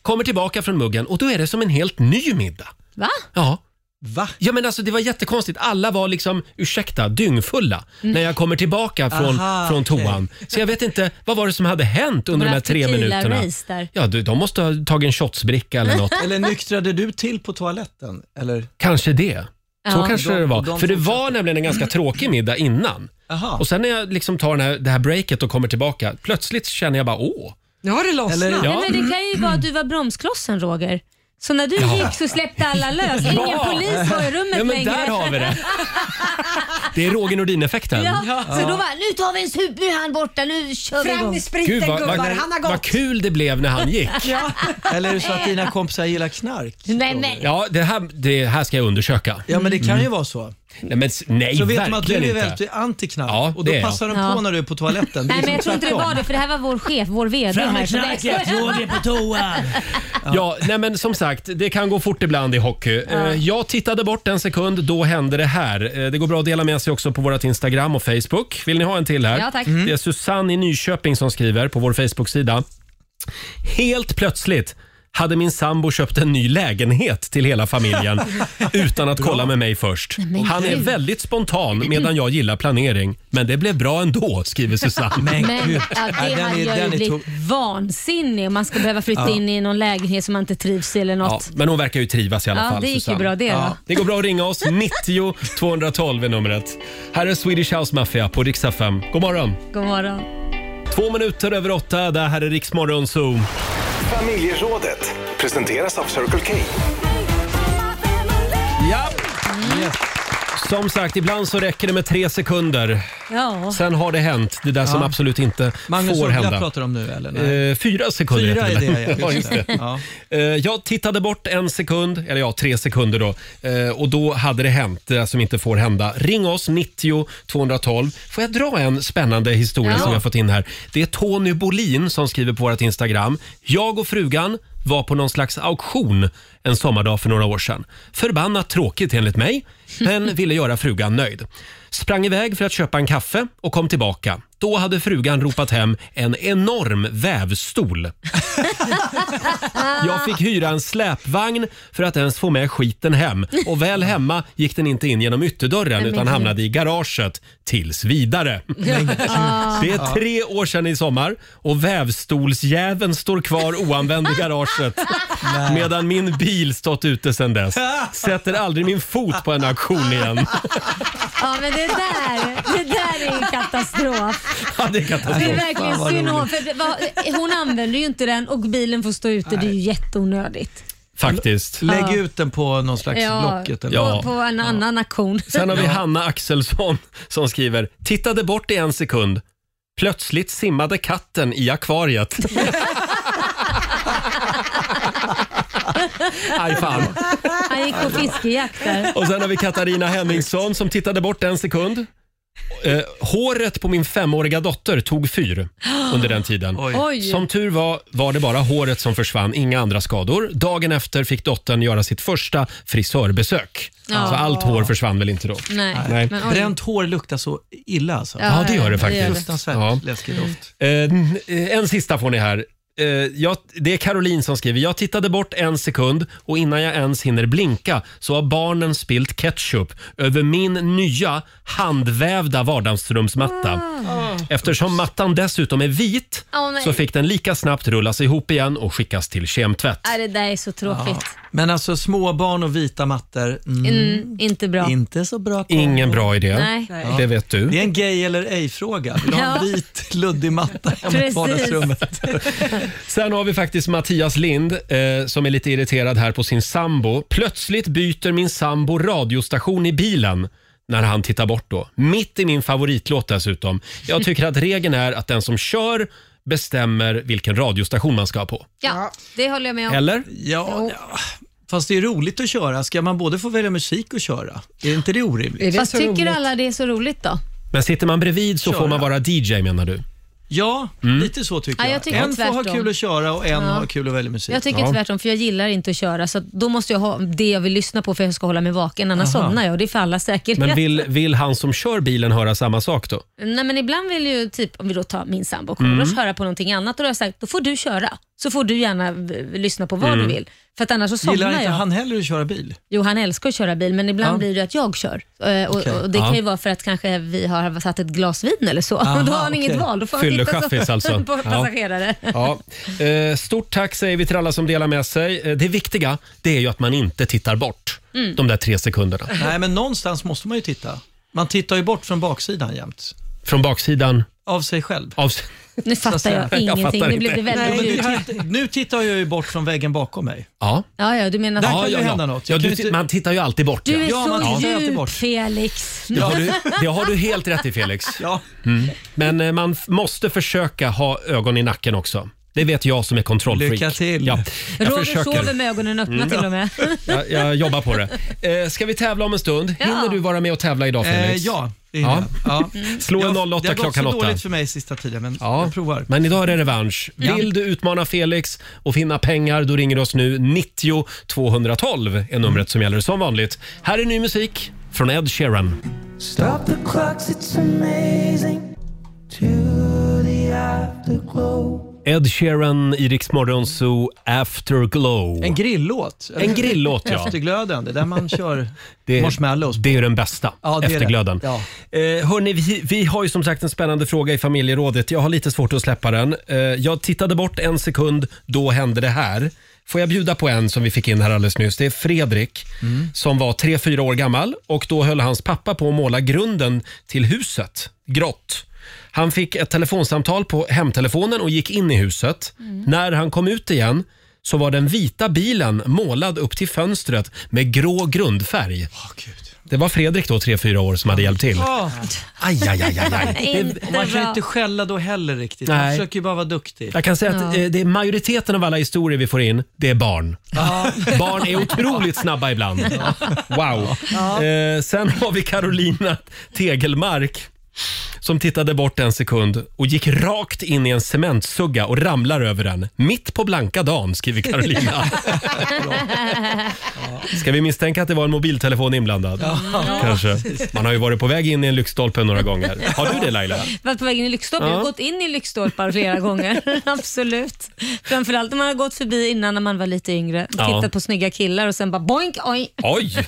S1: kommer tillbaka från muggen och då är det som en helt ny middag.
S4: Va?
S1: Ja,
S7: Va?
S1: Ja men alltså det var jättekonstigt. Alla var liksom, ursäkta, dyngfulla när jag kommer tillbaka från,
S7: Aha,
S1: från
S7: okej.
S1: toan. Så jag vet inte, vad var det som hade hänt under de
S4: Några
S1: här tre minuterna?
S4: tequila-race där.
S1: Ja, du, de måste ha tagit en shotsbricka eller något.
S7: Eller nyktrade du till på toaletten? Eller?
S1: Kanske det. Så
S4: Ja.
S1: kanske
S7: De-
S1: det var.
S7: de
S1: För det var
S7: fortsatte.
S1: nämligen en ganska tråkig middag innan.
S7: Aha.
S1: Och sen när jag liksom tar den här, det här breaket och kommer tillbaka, plötsligt känner jag bara åh.
S2: Nu har det lossnat.
S7: Eller-
S1: Ja.
S4: Nej, men det kan ju vara att du var bromsklossen Roger. Så när du gick så släppte alla lös. Ingen
S1: Ja.
S4: polis var i rummet
S1: Ja, men
S4: längre.
S1: där har vi det. Det är Roger Nordin-effekten.
S4: Ja, Så då var nu tar vi en sup, nu är han borta, nu kör vi
S2: Fram
S4: igång.
S2: med spriten
S1: Gud vad,
S2: gubbar,
S1: vad,
S2: han har
S1: vad
S2: gått.
S1: kul det blev när han gick.
S7: Eller är det så att dina kompisar gillar knark?
S4: Nej, men,
S1: Ja, det här, det här ska jag undersöka.
S7: Ja, men det kan ju vara så.
S1: Nej, men, s- nej
S7: Så vet
S1: verkligen
S7: de att du är
S1: inte.
S7: väldigt anti-knark
S1: Ja,
S7: och
S1: det är
S7: då
S1: jag.
S7: passar de på
S4: Ja.
S7: när du är på toaletten. Det är
S4: nej, men
S7: liksom
S4: jag tror inte det
S7: tvärtom.
S4: var det, för det här var vår chef, vår VD. här, så det-
S7: är på toa!
S1: Ja, nej men som sagt, det kan gå fort ibland i hockey. Eh, Jag tittade bort en sekund, då hände det här. Eh, Det går bra att dela med sig också på vårt Instagram och Facebook. Vill ni ha en till här? Mm.
S4: Ja, tack.
S1: Det är Susanne i Nyköping som skriver på vår Facebook-sida. Helt plötsligt hade min sambo köpt en ny lägenhet till hela familjen utan att kolla med mig först.
S4: men
S1: Han är
S4: gud.
S1: väldigt spontan medan jag gillar planering. Men det blev bra ändå, skriver Susanne.
S7: Men
S4: Men
S7: gud,
S4: ja, det
S7: Nej, den
S4: hade
S7: är-
S4: jag
S7: den
S4: ju
S7: är
S4: blivit
S7: tung.
S4: vansinnig om man ska behöva flytta in i någon lägenhet som man inte trivs i eller
S1: Ja,
S4: något.
S1: men hon verkar ju trivas i alla
S4: Ja,
S1: fall.
S4: det gick ju
S1: Susanne.
S4: bra det då.
S1: Det går bra att ringa oss. 90 212 är numret. Här är Swedish House Mafia på Riksa 5. God morgon!
S4: God morgon.
S1: Två minuter över åtta. Det här är Riksmorgon Zoo.
S8: Familjerådet presenteras av Circle K.
S1: Ja. Mm. Som sagt, ibland så räcker det med tre sekunder.
S4: Ja.
S1: Sen har det hänt, det där som
S7: Ja.
S1: absolut inte
S7: Magnus
S1: får
S7: Uggla
S1: hända.
S7: pratar om nu eller? Nej.
S1: Eh, fyra sekunder
S7: Fyra
S1: heter
S7: är det,
S1: väl?
S7: ja.
S1: ja. Just det.
S7: Ja.
S1: Eh, Jag tittade bort en sekund, eller ja, tre sekunder då. Eh, Och då hade det hänt, det där som inte får hända. Ring oss, 90 212. Får jag dra en spännande historia
S4: Ja.
S1: som jag har fått in här? Det är Tony Bolin som skriver på vårt Instagram. Jag och frugan var på någon slags auktion en sommardag för några år sedan. Förbannat tråkigt enligt mig, men ville göra frugan nöjd. Sprang iväg för att köpa en kaffe och kom tillbaka. Då hade frugan ropat hem en enorm vävstol. Jag fick hyra en släpvagn för att ens få med skiten hem. Och väl hemma gick den inte in genom ytterdörren
S4: men
S1: utan
S4: gud.
S1: hamnade i garaget tills vidare. Det är tre år sedan i sommar och vävstolsjäveln står kvar oanvänd i garaget medan min bil stått ute sedan dess. Sätter aldrig min fot på en auktion igen.
S4: Ja, men det där, det där är ju katastrof.
S1: Ja, det är
S4: Det
S1: katastrof.
S4: är verkligen
S7: Fan, vad
S4: synd om hon,
S7: roligt.
S4: för det var- hon använder ju inte den och bilen får stå ute. Det är ju jätteonödigt.
S1: Faktiskt.
S7: Lägg ut den på någon slags
S4: Ja,
S7: Blocket eller
S1: Ja.
S4: på, på en annan auktion.
S1: Sen har vi Hanna Axelsson som skriver “Tittade bort i en sekund. Plötsligt simmade katten i akvariet.” Aj fan.
S4: Han gick på fiskejakt där.
S1: Och sen har vi Katarina Henningsson som tittade bort en sekund. Eh, håret på min femåriga dotter tog fyr under den tiden.
S7: Oj.
S4: Oj.
S1: Som tur var var det bara håret som försvann, inga andra skador. Dagen efter fick dottern göra sitt första frisörbesök. Så allt hår försvann väl inte då.
S4: Nej.
S1: Nej.
S4: Men, oj.
S7: Bränt hår luktar så illa alltså.
S1: Ja, det gör det
S4: det.
S1: faktiskt.
S7: Fruktansvärt
S1: Ja.
S7: läskig doft.
S1: Eh, n- eh, en sista får ni här. Eh, jag, det är Caroline som skriver. Jag tittade bort en sekund och innan jag ens hinner blinka så har barnen spilt ketchup över min nya handvävda vardagsrumsmatta. Eftersom mattan dessutom är vit
S4: Åh, nej.
S1: så fick den lika snabbt rullas ihop igen och skickas till kemtvätt.
S4: Ja, det där är så tråkigt.
S7: Men alltså småbarn och vita mattor, mm,
S4: Mm, inte bra.
S7: inte så bra kombo.
S1: Ingen bra idé.
S4: Nej.
S1: Det vet du.
S7: Det är en gay eller ej-fråga. Vill du ha en
S4: Ja.
S7: vit luddig matta hemma i
S4: Precis.
S7: vardagsrummet?
S1: Sen har vi faktiskt Mattias Lind eh, som är lite irriterad här på sin sambo. Plötsligt byter min sambo radiostation i bilen när han tittar bort då. Mitt i min favoritlåt dessutom. Jag tycker att regeln är att den som kör bestämmer vilken radiostation man ska ha på.
S4: Ja, det håller jag med om.
S1: Eller?
S7: Ja, ja, fast det är roligt att köra. Ska man både få välja musik och köra? Är inte det orimligt?
S2: Är det
S4: Fast
S2: så
S4: tycker
S2: roligt?
S4: alla det är så roligt då?
S1: Men sitter man bredvid så
S7: Köra.
S1: får man vara DJ menar du?
S7: Ja,
S1: Mm.
S7: lite så tycker
S4: Ja,
S7: jag.
S4: jag tycker
S7: en får ha
S4: tvärtom.
S7: kul att köra och en har kul att välja musik.
S4: Jag tycker tvärtom, för jag gillar inte att köra. Så att då måste jag ha det jag vill lyssna på för att jag ska hålla mig vaken. Annars somnar jag och det är för alla säkerhet.
S1: Men vill, vill han som kör bilen höra samma sak då?
S4: Nej, men ibland vill ju, typ, om vi då tar min sambo och Carlos,
S7: Mm.
S4: höra på någonting annat. Och då har jag sagt, då får du köra. Så får du gärna v- lyssna på vad du vill. För att annars så somnar
S7: Mm. Gillar inte
S4: jag.
S7: han heller att köra bil?
S4: Jo, han älskar att köra bil, men ibland
S7: Ja.
S4: blir det att jag kör. Eh, och,
S7: Okej.
S4: och Det kan
S1: Ja.
S4: ju vara för att kanske vi har satt ett glas vin eller så.
S7: Aha,
S4: och då har han
S7: okej.
S4: inget val. Då får han titta
S1: Fyllechaffis
S4: så,
S1: alltså.
S4: på
S1: Ja.
S4: passagerare.
S1: Ja. Eh, stort tack säger vi till alla som delar med sig. Eh, det viktiga det är ju att man inte tittar bort de där tre sekunderna.
S7: Nej, men någonstans måste man ju titta. Man tittar ju bort från baksidan jämt.
S1: Från baksidan
S7: av sig själv.
S1: Av...
S4: Nu fattar jag,
S1: Jag
S4: ingenting.
S1: fattar
S4: nu blev
S1: inte.
S4: det
S7: Ja, men
S4: väldigt
S7: det
S4: djupt.
S7: här, nu tittar jag ju bort från väggen bakom mig.
S1: Ja.
S4: Ja, ja, du menar...
S7: Där
S4: att
S7: kan
S1: Ja,
S7: ju
S1: ja,
S7: hända
S1: ja.
S7: något.
S1: ja
S7: Jag
S1: du,
S7: kan ju
S1: ti-
S7: inte-
S1: man tittar ju alltid bort.
S4: Du
S1: ja.
S4: är
S7: Ja, man
S4: så
S7: tittar ju alltid
S4: djup,
S7: bort.
S4: Felix.
S1: Det, har du, det har du helt rätt i Felix.
S7: Ja.
S1: Men eh, man f- måste försöka ha ögon i nacken också. Det vet jag som är kontrollfreak.
S7: Lycka till.
S1: Ja, jag
S4: Roger sover
S1: försöker.
S4: med ögonen öppna
S7: Mm.
S4: till och med.
S1: Jag, jag jobbar på det. Eh, ska vi tävla om en stund?
S4: Ja.
S1: Hinner du vara med och tävla idag
S7: Eh,
S1: Felix?
S7: ja, det hinner jag. ja.
S1: Slå en
S7: Jag-
S1: 08 klockan
S7: Det har gått så
S1: åtta.
S7: dåligt för mig sista tiden, men
S1: Ja,
S7: jag provar.
S1: Men idag är det revansch.
S7: Ja.
S1: Vill du utmana Felix och finna pengar, då ringer du oss nu. 90 212 är numret som gäller som vanligt. Här är ny musik från Ed Sheeran.
S9: Stop the clocks, it's amazing. To the afterglow.
S1: Ed Sheeran i Rix Morgon Zoo Afterglow.
S7: En grillåt.
S1: En grillåt, ja.
S7: Efterglöden, det där man kör
S1: Det är-
S7: marshmallows på.
S1: Det är ju den bästa,
S7: Ja, det är det.
S1: efterglöden.
S7: Ja.
S1: Eh, hörni, vi, vi har ju som sagt en spännande fråga i familjerådet. Jag har lite svårt att släppa den. Eh, jag tittade bort en sekund, då hände det här. Får jag bjuda på en som vi fick in här alldeles nyss? Det är Fredrik
S7: Mm.
S1: som var 3-4 år gammal och då höll hans pappa på att måla grunden till huset grått. Han fick ett telefonsamtal på hemtelefonen och gick in i huset.
S7: Mm.
S1: När han kom ut igen så var den vita bilen målad upp till fönstret med grå grundfärg.
S7: Åh, Gud.
S1: Det var Fredrik då, 3-4 år, som hade hjälpt till.
S7: Åh,
S1: Aj, aj, aj, aj, aj.
S4: Inte
S7: och man kan ju
S4: bra.
S7: inte skälla då heller riktigt. Man
S1: Nej.
S7: försöker ju bara vara duktig.
S1: Jag kan säga att eh, det är majoriteten av alla historier vi får in, det är barn. Barn är otroligt snabba ibland. Wow. Eh, sen har vi Carolina Tegelmark som tittade bort en sekund och gick rakt in i en cementsugga och ramlar över den. Mitt på blanka dagen, skriver Carolina. Ska vi misstänka att det var en mobiltelefon inblandad? Kanske. Man har ju varit på väg in i en lyktstolpe några gånger. Har du det Laila?
S4: varit på väg in i lyktstolpar. Jag har gått in i lyktstolpar flera gånger. Absolut. Framförallt när man har gått förbi innan när man var lite yngre.
S1: Ja.
S4: Tittat på snygga killar och sen bara boink, oj.
S1: Oj!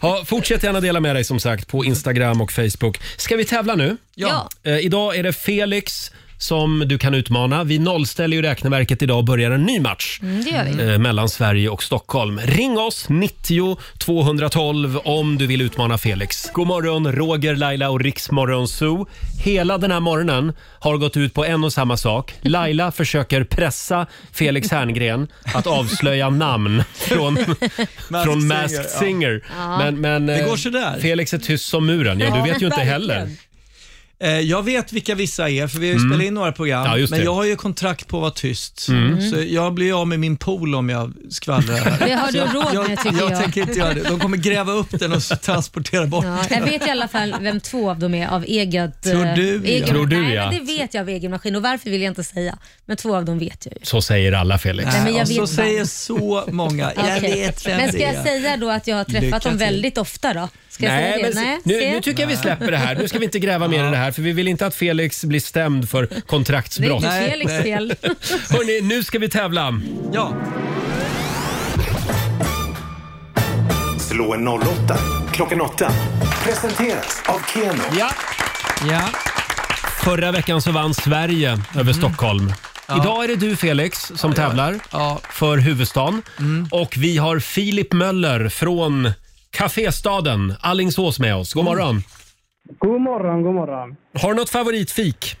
S1: Ja, fortsätt gärna dela med dig som sagt på Instagram och Facebook. Ska vi tävla nu?
S4: Ja.
S1: Eh, idag är det Felix som du kan utmana. Vi nollställer ju räkneverket idag och börjar en ny match.
S4: Mm, det gör vi.
S1: eh, mellan Sverige och Stockholm. Ring oss 90 212 om du vill utmana Felix. God morgon Roger, Laila och Riksmorgon Zoo. Hela den här morgonen har gått ut på en och samma sak. Laila försöker pressa Felix Herngren att avslöja namn från, från
S7: Singer,
S1: Masked
S7: ja.
S1: Singer. Men, men, det
S7: går sådär.
S1: Felix är tyst som muren. Ja, du vet ju inte heller.
S7: Eh, jag vet vilka vissa är, för vi har ju spelat in några program.
S1: Mm. Ja, just
S7: men
S1: det. Mm.
S7: jag har ju kontrakt på att vara tyst. Så jag blir av med min pool om jag skvallrar. här.
S4: Det har du råd med
S7: jag,
S4: tycker
S7: jag,
S4: jag.
S7: tänker inte göra det. De kommer gräva upp den och så transportera bort
S4: Ja, jag vet i alla fall vem två av dem är av eget... eh,
S7: Tror du, ja.
S4: egen,
S1: Tror du,
S4: nej,
S1: ja.
S4: men det vet jag av egen maskin och varför vill jag inte säga. Men två av dem vet jag ju.
S1: Så säger alla Felix.
S4: Nej, men jag
S7: och
S4: vet vem.
S7: så säger så många. Jag
S4: Okej.
S7: vet vem
S4: men ska
S7: det
S4: jag
S7: är.
S4: säga då att jag har träffat
S7: Lycka
S4: dem
S7: till.
S4: väldigt ofta då? Ska jag säga det?
S1: men
S4: Nej,
S1: nu,
S4: se.
S1: nu tycker jag vi släpper det här. Nu ska vi inte gräva mer i det här för vi vill inte att Felix blir stämd för
S4: det är
S1: kontraktsbrott.
S4: inte
S7: Nej,
S4: Felix
S7: nej.
S4: fel.
S1: Hörrni, nu ska vi tävla.
S7: Ja.
S8: Slå en 08 klockan åtta. Presenteras av Keno.
S1: Ja.
S7: ja.
S1: Förra veckan så vann Sverige över Stockholm. Idag är det du Felix som tävlar
S7: Mm. Ja. Mm.
S1: för huvudstaden. Och vi har Filip Möller från Caféstaden, Allingsås med oss. God morgon.
S9: God morgon, god morgon.
S1: Har du något favoritfik?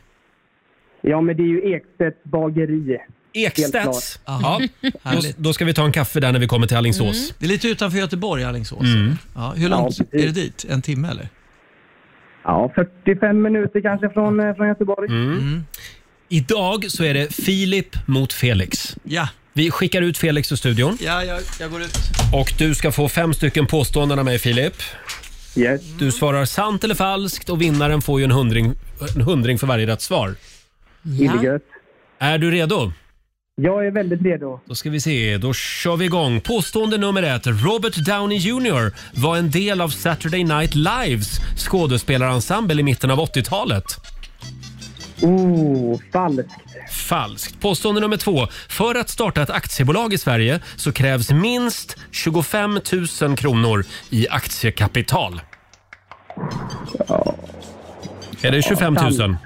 S9: Ja, men det är ju Ekstedts bageri.
S1: Ekstedts? Ja. Då,
S7: Härligt. Mm.
S1: då ska vi ta en kaffe där när vi kommer till Allingsås.
S7: Det är lite utanför Göteborg, Alingsås.
S1: Mm.
S7: Ja, hur långt
S9: Ja,
S7: är
S9: precis.
S7: det dit? En timme eller?
S9: Ja, 45 minuter kanske från, eh, från Göteborg.
S1: Idag så är det Filip mot Felix.
S7: Ja,
S1: Vi skickar ut Felix ur studion
S7: ja jag, jag går ut.
S1: och du ska få fem stycken påståenden av mig Filip.
S9: Yes.
S1: Du svarar sant eller falskt och vinnaren får ju en hundring, en hundring för varje rätt svar.
S9: Ja. Gött.
S1: Är du redo?
S9: Jag är väldigt redo.
S1: Då ska vi se, då kör vi igång. Påstående nummer ett. Robert Downey Jr var en del av Saturday Night Lives skådespelarensemble i mitten av 80-talet.
S9: Oh, falskt.
S1: Falskt. Påstående nummer två. För att starta ett aktiebolag i Sverige så krävs minst 25 000 kronor i aktiekapital. Är det 25 000?
S9: Ja, det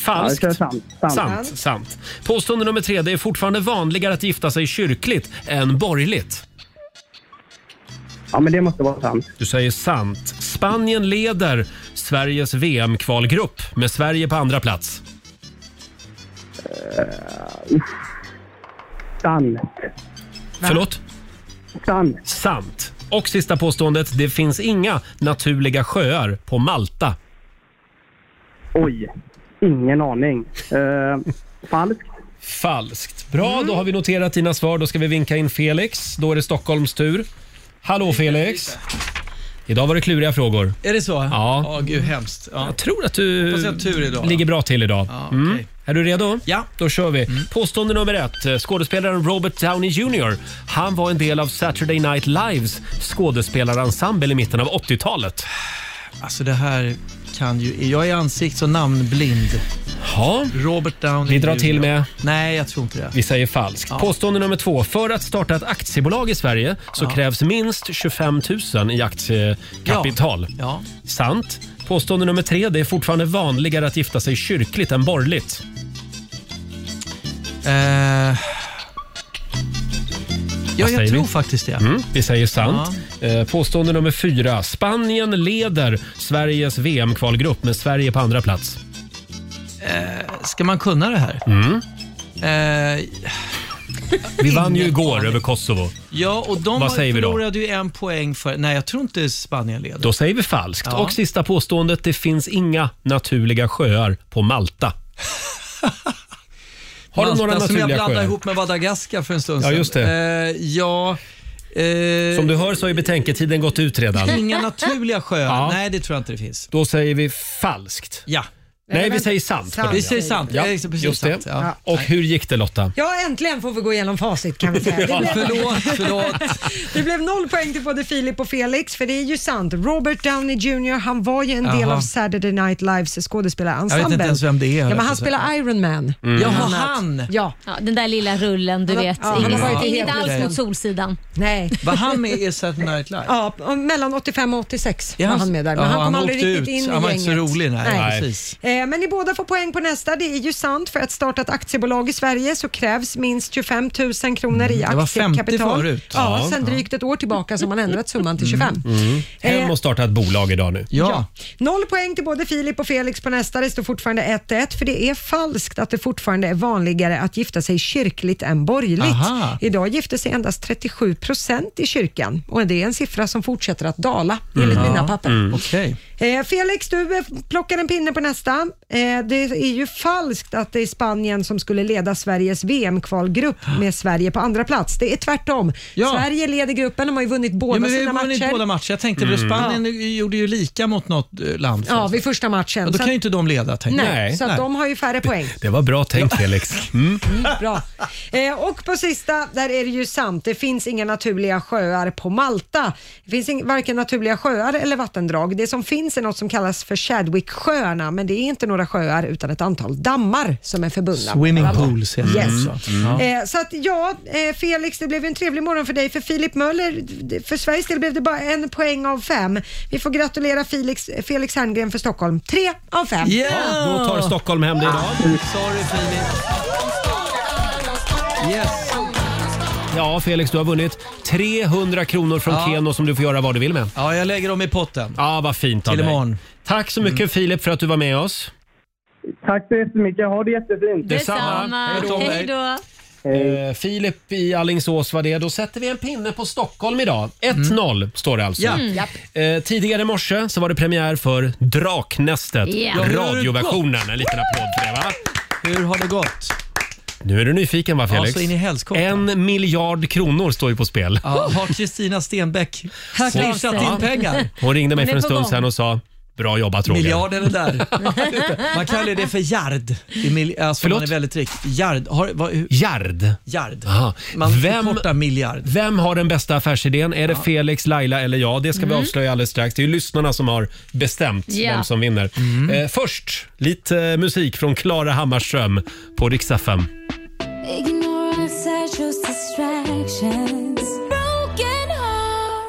S1: Falskt.
S9: tror jag är sant. sant.
S1: Sant, sant. Påstående nummer tre. Det är fortfarande vanligare att gifta sig kyrkligt än borgerligt.
S9: Ja, men det måste vara sant.
S1: Du säger sant. Spanien leder Sveriges VM-kvalgrupp med Sverige på andra plats?
S9: Eh, Sant.
S1: Förlåt?
S9: Sant.
S1: Sant. Och sista påståendet. Det finns inga naturliga sjöar på Malta.
S9: Oj. Ingen aning. Eh, falskt.
S1: Falskt. Bra, då har vi noterat dina svar. Då ska vi vinka in Felix. Då är det Stockholms tur. Hallå Felix! Idag var det kluriga frågor.
S7: Är det så?
S1: Ja.
S7: Ja, gud hemskt. Ja.
S1: Jag tror att du
S7: Får se en tur idag, då.
S1: ligger bra till idag.
S7: Ja,
S1: Mm.
S7: okej.
S1: Är du redo?
S7: Ja. Mm.
S1: Då kör vi. Påstående nummer ett. Skådespelaren Robert Downey Jr. Han var en del av Saturday Night Lives skådespelarensemble i mitten av 80-talet.
S7: Alltså det här kan ju... Jag är ansikts och namnblind.
S1: Ja,
S7: Robert Downey
S1: Vi drar
S7: Jr.
S1: till med-
S7: Nej, jag tror inte det.
S1: vi säger falskt. Påstående nummer två. För att starta ett aktiebolag i Sverige så krävs minst 25 000 i aktiekapital.
S7: Ja.
S1: Sant. Påstående nummer tre. Det är fortfarande vanligare att gifta sig kyrkligt än borgerligt.
S7: Eh... Ja,
S1: säger
S7: jag tror
S1: vi?
S7: faktiskt det.
S1: Mm, vi säger sant. Eh, Påstående nummer fyra. Spanien leder Sveriges VM-kvalgrupp med Sverige på andra plats.
S7: Ska man kunna det här? Eh,
S1: Mm. Vi vann ju
S7: Ingen
S1: igår
S7: aning.
S1: över Kosovo.
S7: ja, och de
S1: Vad
S7: har-
S1: säger vi då?
S7: förlorade ju en poäng för... Nej, jag tror inte Spanien leder.
S1: Då säger vi falskt.
S7: Ja.
S1: Och sista påståendet. Det finns inga naturliga sjöar på Malta. Har
S7: Malta,
S1: du några
S7: som jag
S1: naturliga
S7: blandade
S1: sjöar?
S7: ihop med Madagaskar för en stund
S1: Ja,
S7: sedan.
S1: just det.
S7: Eh, ja... Eh,
S1: Som du hör så har ju betänketiden gått ut redan.
S7: Inga naturliga sjöar.
S1: Ja.
S7: Nej, det tror jag inte det finns.
S1: Då säger vi falskt.
S7: Ja,
S1: Nej, vi
S2: men-
S1: säger sant. på den,
S2: Sant.
S7: vi
S1: ja.
S7: säger sant.
S1: Ja,
S7: Ja, precis
S1: just det.
S7: sant. Ja.
S1: Och hur gick det Lotta?
S2: Ja, äntligen får vi gå igenom facit kan vi säga. Det blev,
S7: Förlåt, förlåt.
S2: det blev noll poäng till både Filip och Felix, för det är ju sant. Robert Downey Jr, han var ju en del
S7: Jaha.
S2: av Saturday Night Lives skådespelarensemble.
S7: Jag vet inte ens vem det är,
S2: Ja, men
S7: jag
S2: han
S7: får säga.
S2: spelar Iron Man.
S1: Mm.
S7: Jaha, han.
S2: Ja,
S4: Ja, den där lilla rullen, du
S2: Han har-
S4: vet.
S2: ja, han har
S4: Inget-
S2: varit i
S4: Inget
S2: hela
S4: alls
S7: tiden.
S4: mot Solsidan.
S2: nej.
S7: Var han med i Saturday Night Live?
S2: Ja, och mellan 85 och 86
S7: Ja,
S2: var han med där, men
S7: ja,
S2: han kom aldrig
S7: åkte
S2: riktigt
S7: ut.
S2: in i gänget.
S7: Han var inte så rolig. Nej,
S2: Nej.
S7: Precis.
S2: Eh, Men ni båda får poäng på nästa. Det är ju sant. För att starta ett aktiebolag i Sverige så krävs minst 25 000 kronor i
S7: Mm. det var 50
S2: aktiekapital.
S7: förut. Mm.
S2: Ja,
S1: Ja.
S2: sen drygt ett år tillbaka så har man ändrat summan till 25.
S7: Eh.
S1: Hem och starta ett bolag idag nu.
S7: Ja.
S2: Noll poäng till både Filip och Felix på nästa. Det står fortfarande 1-1 för det är falskt att det fortfarande är vanligare att gifta sig kyrkligt än borgerligt.
S7: Aha.
S2: Idag gifter sig endast 37 procent i kyrkan och det är en siffra som fortsätter att dala enligt
S7: Mm.
S2: mina papper.
S7: Okej.
S2: Eh, Felix, du eh, plockar en pinne på nästa. Eh, det är ju falskt att det är Spanien som skulle leda Sveriges VM-kvalgrupp med Sverige på andra plats. Det är tvärtom.
S7: Ja.
S2: Sverige leder gruppen, de har ju vunnit båda
S7: Ja, men vi
S2: sina
S7: har vunnit
S2: matcher.
S7: båda matcher. Jag tänkte
S1: Mm.
S7: väl Spanien gjorde ju lika mot något eh, land.
S2: Ja,
S7: Ja,
S2: vid första matchen.
S7: då
S2: Så
S7: kan ju inte de leda. Tänkte.
S2: Nej,
S7: jag.
S1: Nej,
S2: så att
S7: nej.
S2: de har ju färre poäng.
S1: Det var bra tänkt Felix. Mm.
S2: Bra. Eh, och på sista, där är det ju sant. Det finns inga naturliga sjöar på Malta. Det finns ing- varken naturliga sjöar eller vattendrag. Det som finns är något som kallas för Chadwick-sjöarna, men det är inte några sjöar utan ett antal dammar som är förbundna.
S7: Swimming pools heter
S2: Yes.
S7: det också. Ja.
S2: Eh, så att ja, eh, Felix, det blev ju en trevlig morgon för dig. För Filip Möller, d- för Sveriges del blev det bara en poäng av fem. Vi får gratulera Felix, Felix Herngren för Stockholm. Tre av fem.
S1: Ja, då tar Stockholm hem det idag.
S7: Sorry Filip. Yes.
S1: Ja, Felix, du har vunnit 300 kronor från
S7: Ja.
S1: Keno som du får göra vad du vill med.
S7: Ja, jag lägger dem i potten.
S1: Ja, vad fint av
S7: Till
S1: dig.
S7: imorgon. Mm.
S1: Tack så mycket Filip för att du var med oss.
S9: Tack så jättemycket. Ha det jättefint.
S1: Detsamma.
S4: Detsamma.
S1: Hej då.
S4: Hej då.
S1: Eh, Filip i Alingsås var det. Då sätter vi en pinne på Stockholm idag. 1-0 står det alltså.
S7: Mm. Ja.
S2: Mm.
S1: Eh, tidigare i morse så var det premiär för Draknästet,
S4: Ja.
S1: radioversionen. En liten applåd för det va?
S7: Hur har det gått?
S1: Nu är du nyfiken va Felix?
S7: Ja, så in i helskotta.
S1: en miljard kronor står ju på spel.
S7: Ja, har Kristina Stenbeck klipsat
S4: sig.
S7: in pengar?
S1: Hon ringde mig
S4: Hon är
S1: för en
S4: på
S1: stund
S4: gång.
S1: sedan och sa Bra jobbat Roger.
S7: Miljarden är där. Man kallar det för yard. I mil- alltså
S1: Förlåt?
S7: man är väldigt rik. Yard. Har, vad, hur-
S1: Yard.
S7: yard.
S1: Aha.
S7: Man
S1: Vem-
S7: förkortar miljard.
S1: Vem har den bästa affärsidén? Är det Felix, Laila eller jag? Det ska vi avslöja alldeles strax. Det är ju lyssnarna som har bestämt
S4: Mm. Ja. Mm.
S1: vem som vinner. Eh, först lite eh, musik från Klara Hammarström på Rix FM.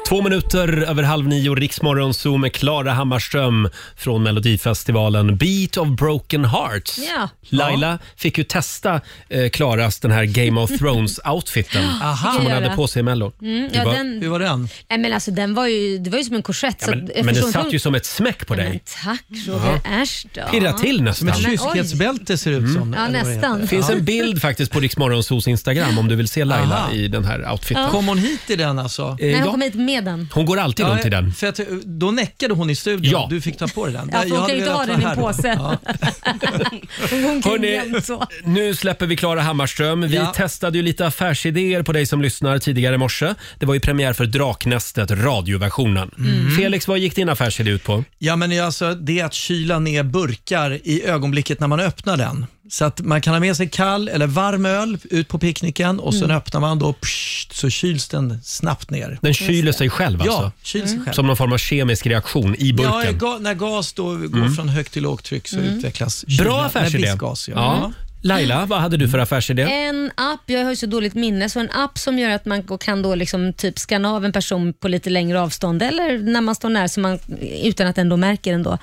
S1: Två minuter över halv nio, Riksmorgon Zoo med Klara Hammarström från Melodifestivalen Beat of Broken Hearts.
S4: Ja.
S1: Laila fick ju testa eh, Klaras den här Game of Thrones-outfiten
S7: Aha.
S1: som hon
S4: Göra.
S1: hade på sig i Mello.
S4: Mm,
S1: Det
S4: ja,
S1: var-
S4: den,
S7: Hur var den?
S4: nej, men alltså, den var ju, det var ju som en korsett.
S1: Ja,
S4: så
S1: men,
S4: jag
S1: men det
S4: förstår inte
S1: satt
S4: hur-
S1: ju som ett smäck på
S4: Ja,
S1: dig.
S4: Men tack Roger, äsch då.
S1: Pirra till nästan.
S7: Som ett
S4: men oj.
S7: kyskhetsbälte ser det ut som.
S4: Ja,
S7: eller vad det heter.
S4: nästan.
S1: Det finns en bild faktiskt på Riksmorgonsos Instagram om du vill se Laila
S7: Aha.
S1: i den här outfiten.
S7: Kom hon hit i den alltså?
S1: Eh,
S4: Nej, hon
S1: ja.
S4: kom hit med den.
S1: Hon går alltid runt i den.
S7: För att, då näckade hon i studion.
S1: Ja.
S7: Du fick ta på dig den.
S4: Ja, för hon
S7: hade
S4: kan ju inte ha
S7: velat
S4: den i
S7: vara
S4: en
S7: här då.
S4: påse.
S7: Ja.
S4: Hon går omkring
S1: Hörrni.
S4: jämt så.
S1: Nu släpper vi Klara Hammarström. Vi
S7: Ja.
S1: testade ju lite affärsidéer på dig som lyssnar tidigare i morse. Det var ju premiär för Draknästet, radioversionen.
S7: Mm.
S1: Felix, vad gick din affärsidé ut på?
S7: Ja, men det är alltså det är att kyla ner burkar i ögonblicket när man öppnar den. Så att man kan ha med sig kall eller varm öl ut på picknicken och sen öppnar man då pssst, så kyls den snabbt ner.
S1: Den kyler sig själv
S7: Ja,
S1: alltså?
S7: kyls sig själv.
S1: Som någon form av kemisk reaktion i
S7: Ja,
S1: burken. Mm.
S7: ga, när gas då går från högt till lågtryck så utvecklas kyla.
S1: Bra affärsidé.
S7: Nej, visgas, ja. Mm.
S1: Ja. Laila, vad hade du för affärsidé?
S4: En app, jag har ju så dåligt minne, så en app som gör att man kan då liksom typ skanna av en person på lite längre avstånd eller när man står nära så man, utan att ändå märker den då.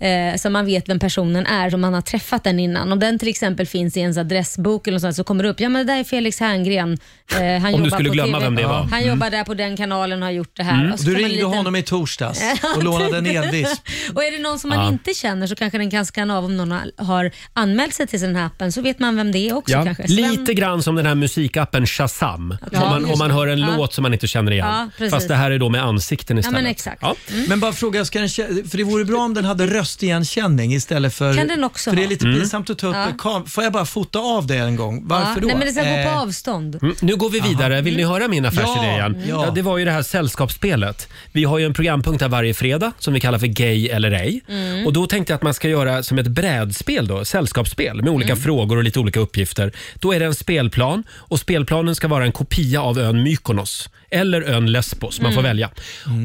S4: Eh, så man vet vem personen är som man har träffat den innan. Om den till exempel finns i ens adressbok eller något sånt, så kommer det upp, ja men det där är Felix Herngren. Eh, han
S1: Om du
S4: jobbar
S1: skulle
S4: på
S1: glömma
S4: TV.
S1: vem det var. Mm.
S4: Han jobbar där på den kanalen och har gjort det här. Och så
S7: Du
S4: får man en
S7: ringde
S4: liten-
S7: honom i torsdags och lånade en elvisp.
S4: Och är det någon som man inte känner så kanske den kan skanna av om någon har- har anmält sig till den här appen så vet man vem det är också
S1: Ja.
S4: kanske. Så
S1: Lite
S4: den-
S1: grann som den här musikappen Shazam.
S4: Ja,
S1: om, man,
S4: just
S1: om man
S4: det.
S1: hör en
S4: Ja.
S1: låt som man inte känner igen.
S4: Ja, precis.
S1: Fast det här är då med ansikten
S4: Ja
S1: istället.
S4: men exakt.
S1: Ja.
S7: Men bara fråga, ska den, kä- för det vore bra om den hade röstigenkänning istället för...
S4: Kan den också
S7: För det är
S4: ha?
S7: lite
S1: Mm.
S7: pinsamt att ta upp en kam- Får jag bara fota av det en gång? Varför
S4: Ja,
S7: då?
S4: Nej, men det ska gå
S7: Eh,
S4: på avstånd.
S1: Mm, Nu går vi vidare. Vill ni höra min affärsidé
S7: Ja,
S1: igen?
S7: ja.
S1: Ja, det var ju det här sällskapsspelet. Vi har ju en programpunkt här varje fredag som vi kallar för Gay eller ej. Och då tänkte jag att man ska göra som ett brädspel då, sällskapsspel med olika frågor och lite olika uppgifter. Då är det en spelplan och spelplanen ska vara en kopia av ön Mykonos eller ön Lesbos. Man får välja.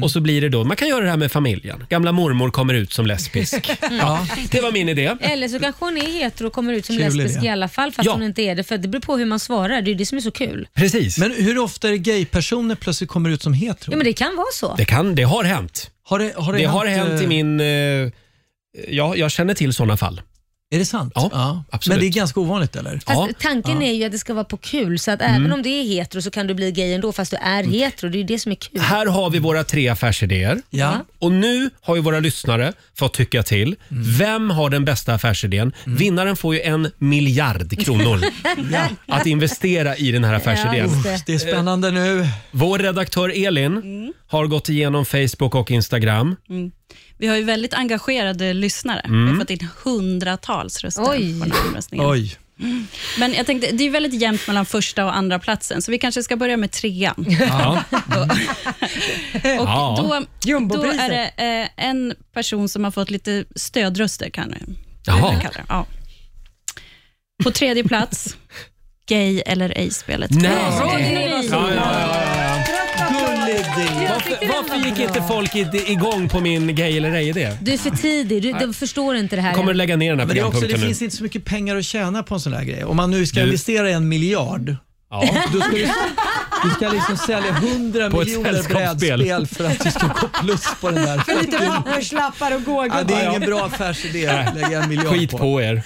S1: Och så blir det då, man kan göra det här med familjen. Gamla mormor kommer ut som lesbisk. Ja, det var min idé.
S4: Eller så kanske hon är hetero och kommer ut som
S7: Kul
S4: lesbisk
S7: idé.
S4: i alla fall fast
S1: Ja.
S4: hon inte är det. För det beror på hur man svarar. Det är ju det som är så kul.
S1: Precis.
S7: Men hur ofta är det gaypersoner plötsligt kommer ut som hetero?
S4: Ja men det kan vara så.
S1: Det, kan, det har hänt.
S7: har det, har det,
S1: Det har hänt
S7: eh,
S1: i min... Eh, ja, jag känner till sådana fall.
S7: Är det sant?
S1: Ja, absolut.
S7: Men det är ganska ovanligt eller?
S4: Fast
S1: Ja.
S4: tanken är ju att det ska vara på kul så att
S7: Mm.
S4: även om det är hetero så kan du bli gay ändå fast du är hetero. Det är ju det som är kul.
S1: Här har vi våra tre affärsidéer.
S7: Ja.
S1: Och nu har ju våra lyssnare fått tycka till. Vem har den bästa affärsidén? Vinnaren får ju en miljard kronor att investera i den här affärsidén.
S4: Ja, just det.
S1: Eh.
S7: Det är spännande nu.
S1: Vår redaktör Elin har gått igenom Facebook och Instagram.
S10: Vi har ju väldigt engagerade lyssnare. Vi har fått in hundratals röster
S4: Oj.
S10: på den här omröstningen.
S7: Oj.
S10: Men jag tänkte, det är väldigt jämnt mellan första och andra platsen så vi kanske ska börja med trean.
S1: Ja.
S10: Och
S1: Ja.
S10: då, då
S2: Jumbopriset.
S10: är det eh, en person som har fått lite stödröster, kan jag
S1: Jaha.
S10: kalla det. Ja. På tredje plats, gay eller ej-spelet.
S1: Nej. Ja, ja, ja, ja.
S7: Gullig idé.
S1: Varför, varför gick inte folk i- igång på min gay eller ej-idé?
S4: Du är för tidig. Du, du förstår inte det här.
S1: Kommer
S4: än.
S1: lägga ner den här
S7: Men det, är också, det
S1: programpunkten nu.
S7: finns inte så mycket pengar att tjäna på en sån här grej. Om man nu ska
S1: Du-
S7: investera en miljard,
S1: Ja.
S7: då ska du, du ska liksom sälja 100
S1: På ett
S7: miljoner
S1: sällskapsspel.
S7: brädspel för att du ska gå plus på den där.
S2: För lite papperslappar och
S7: Ja, det
S2: gågubbar.
S7: är ingen bra affärsidé att lägga en miljard
S1: Skit på er.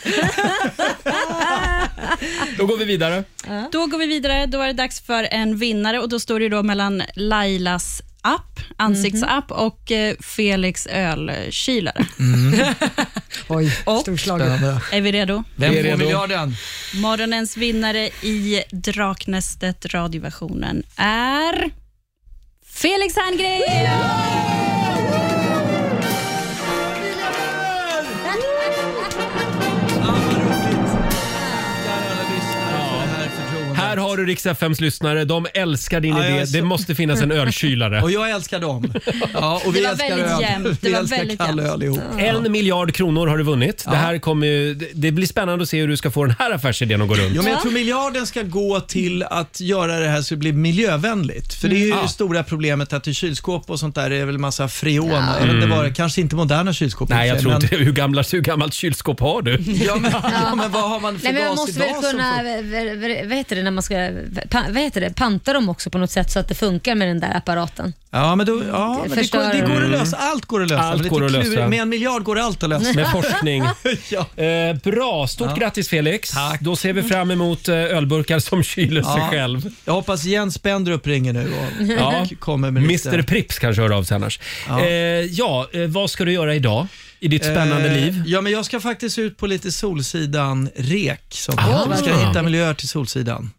S1: Då går vi vidare.
S10: Då går vi vidare. Då är det dags för en vinnare och då står det då mellan Lailas app, ansiktsapp och eh, Felix ölkylare.
S2: Oj,
S10: Och-
S2: storslaget.
S10: Är vi redo?
S7: Vem
S1: Vi är redo.
S7: får miljarden?
S10: Morgonens vinnare i Draknästet radioversionen är Felix Herngren!
S1: Här har du Rix FMs lyssnare. De älskar din
S7: Ja, jag
S1: idé.
S7: är så-
S1: Det måste finnas en ölkylare.
S7: Och jag älskar dem. Ja, och vi
S10: Det var
S7: älskar
S10: väldigt
S7: öl.
S10: jämnt. Det
S7: Vi
S10: var
S7: älskar
S10: väldigt
S7: kall
S10: jämnt.
S7: öl ihop.
S1: En miljard kronor har du vunnit. Det, här kommer, ju- det- det blir spännande att se hur du ska få den här affärsidén att gå runt.
S7: Jo, men jag tror miljarden ska gå till att göra det här så det blir miljövänligt. För det är ju det stora problemet att i kylskåp och sånt där är det väl massa freon. Jag vet inte vad det, kanske inte moderna kylskåp. i och
S1: Mm. Nej, jag
S7: för sig,
S1: tror
S7: men-
S1: inte Hur, gamla, hur gammalt kylskåp har du?
S7: Ja men, ja, men vad har man för
S4: Nej, men man
S7: gas
S4: måste
S7: idag?
S4: väl
S7: som
S4: kunna,
S7: får-
S4: v- v- vad heter det när man ska pa, vad heter det, panta dem också på något sätt så att det funkar med den där apparaten.
S7: Ja, men, då, ja, men det, går,
S4: Förstör-
S7: det går att
S4: Mm.
S7: lösa. Allt går att lösa.
S1: Allt
S7: Men lite
S1: går att lösa.
S7: klurigt. Med en miljard går allt att lösa.
S1: Med forskning.
S7: ja.
S1: Eh, bra, stort grattis Felix. Då ser vi fram emot eh, ölburkar som kyler
S7: Ja.
S1: sig själv.
S7: Jag hoppas Jens Spendrup ringer nu och
S1: Ja.
S7: kommer med lite...
S1: Mr Prips kanske hör av sig annars. Ja,
S7: Ja.
S1: eh, ja eh, vad ska du göra idag i ditt spännande
S7: Eh,
S1: liv?
S7: Ja, men jag ska faktiskt ut på lite Solsidan-rek. Som
S1: Ah.
S7: vi ska hitta miljöer till Solsidan.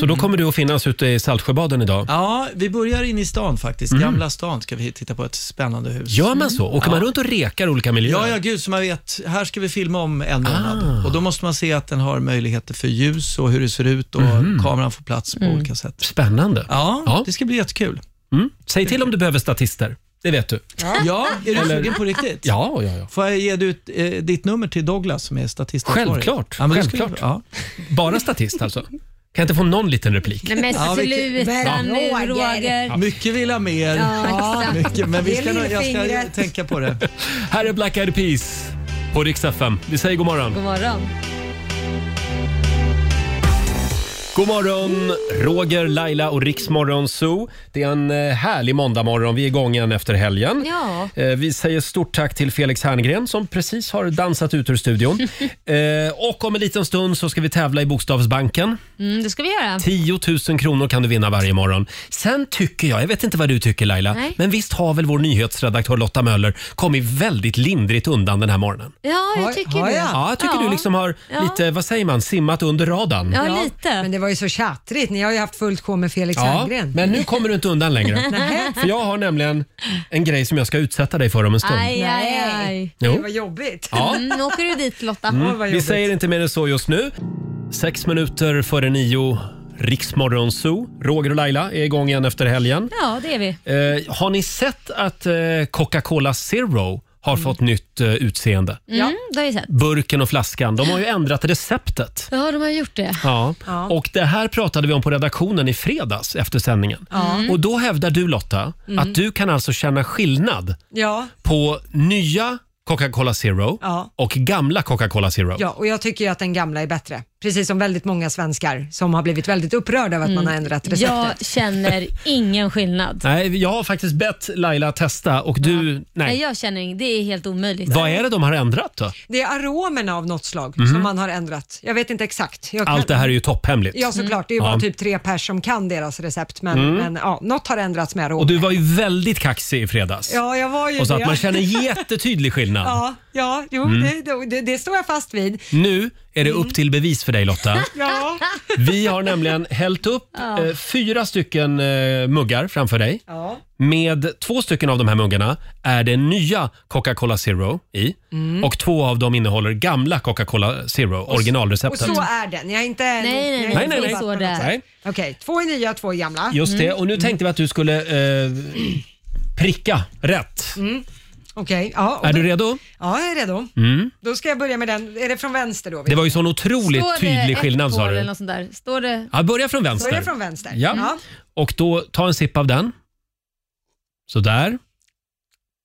S1: Så då kommer du att finnas ute i Saltsjöbaden idag?
S7: mm. Ja, vi börjar in i stan faktiskt. Gamla stan ska vi titta på ett spännande hus.
S1: Gör man så? Åker man runt och rekar olika miljöer?
S7: Ja, ja, gud, så man vet. Här ska vi filma om en månad.
S1: Ah.
S7: Och då måste man se att den har möjligheter för ljus och hur det ser ut och kameran får plats på
S2: Mm.
S7: olika sätt.
S1: Spännande.
S7: Ja,
S1: Mhm. Ja.
S7: det ska bli jättekul.
S1: Mm. Säg till om du behöver statister. Det vet du.
S7: Ja, är du
S1: Eller-
S7: sugen på riktigt?
S1: Ja, ja, ja.
S7: Får jag ge dig ut, eh, ditt nummer till Douglas som är statistikansvarig?
S1: Självklart.
S7: Ja, men då skulle-
S1: Självklart.
S7: ja.
S1: Bara statist alltså. Kan jag inte få någon liten replik?
S4: Nej men
S7: Ja,
S4: sluta
S2: vilken-
S4: nu
S2: Roger.
S4: Roger.
S7: Mycket vill ha mer.
S4: Ja, exakt.
S7: mycket, men vi
S2: Det är
S7: ska, nog- jag ska
S2: lillfingret.
S7: tänka på det.
S1: Här är Black Eyed Peas på riksdag 5. Vi säger god morgon.
S4: God morgon.
S1: God morgon, Roger, Laila och Riksmorgon Zoo. Det är en eh, härlig måndagmorgon. Vi är igång igen efter helgen.
S4: Ja.
S1: Eh, Vi säger stort tack till Felix Herngren som precis har dansat ut ur studion. Eh, Och om en liten stund så ska vi tävla i Bokstavsbanken.
S4: Mm, det ska vi göra.
S1: 10 000 kronor kan du vinna varje morgon. Sen tycker jag, jag vet inte vad du tycker Laila,
S4: Nej.
S1: men visst har väl vår nyhetsredaktör Lotta Möller kommit väldigt lindrigt undan den här morgonen?
S4: Ja, jag
S2: Har-
S4: tycker
S2: har
S4: det.
S2: jag?
S1: Ja, jag tycker
S4: Ja.
S1: du liksom har
S4: Ja.
S1: lite, vad säger man, simmat under radarn.
S4: Ja,
S2: Ja, Men
S4: lite.
S2: det var ju så tjattrigt. Ni har ju haft fullt sjå med Felix
S1: Ja,
S2: Herngren.
S1: men nu kommer du inte undan längre. För jag har nämligen en grej som jag ska utsätta dig för om en stund.
S4: Aj, aj, aj.
S2: Det
S1: Jo.
S2: var jobbigt.
S1: Ja. Mm.
S4: Mm, nu åker du dit Lotta.
S2: Åh, vad
S1: Vi
S2: jobbigt.
S1: säger inte mer än så just nu. Sex minuter före nio, Riksmorgon Zoo. Roger och Laila är igång igen efter helgen.
S4: Ja, det är vi. Mm,
S1: Eh, har ni sett att eh, Coca-Cola Zero har fått nytt eh, utseende?
S4: Mm, det har vi sett.
S1: Burken och flaskan, de har ju ändrat receptet.
S4: Ja, de har gjort det.
S1: Ja. Och Det här pratade vi om på redaktionen i fredags efter sändningen. Och Då hävdar du Lotta att du kan alltså känna skillnad
S2: Ja,
S1: på nya Coca-Cola Zero
S2: Ja.
S1: och gamla Coca-Cola Zero.
S2: ja, och jag tycker ju att den gamla är bättre. Precis som väldigt många svenskar som har blivit väldigt upprörda över att
S1: Mm.
S2: man har ändrat receptet.
S4: Jag känner ingen skillnad.
S1: Nej, jag har faktiskt bett Laila testa och du...
S4: Nej,
S1: Nej.
S4: jag känner ingen. Det är helt omöjligt.
S1: Vad är det de har ändrat då?
S2: Det är aromerna av något slag som man har ändrat. Jag vet inte exakt. Jag
S1: Mhm. Allt det här är ju topphemligt.
S2: Ja såklart, det är ju bara
S1: Ja. Mm.
S2: typ tre pers som kan deras recept men, men ja, något har ändrats med aromer.
S1: Och du var ju väldigt kaxig i fredags
S2: Ja, jag var ju
S1: och sa
S2: det.
S1: att man känner Mm. jättetydlig skillnad.
S2: Ja, ja jo, det, det, det står jag fast vid.
S1: Nu är det
S2: Mm.
S1: upp till bevis för dig Lotta.
S2: Ja.
S1: Vi har nämligen hällt upp eh, fyra stycken eh, muggar framför dig.
S2: Ja.
S1: Med två stycken av de här muggarna är det nya Coca-Cola Zero i och två av dem innehåller gamla Coca-Cola Zero,
S2: Mm. Och
S1: originalreceptet.
S2: så är den. Jag är inte...
S4: nej, nej,
S2: jag är
S4: nej,
S2: inte
S1: nej, nej.
S2: jobbat
S4: Så
S2: på något
S4: där.
S2: sätt.
S1: Nej,
S2: Okej, två är nya, två är gamla.
S1: just det.
S2: Mm.
S1: Och nu tänkte vi att du skulle eh, pricka rätt.
S2: Mm. Okej, ja, och
S1: Är
S2: då,
S1: du redo? Mm.
S2: ja, jag är redo. Då ska jag börja med den. Är det från vänster då?
S1: Det var ju sån otroligt
S4: Står det
S2: eh,
S1: tydlig
S4: ett
S1: skillnad sa
S4: hål Eller
S1: du.
S4: något sånt där? Står det...
S1: Ja, börja från vänster.
S2: Börja från vänster.
S1: Ja. Och då, ta en sipp av den. Så där.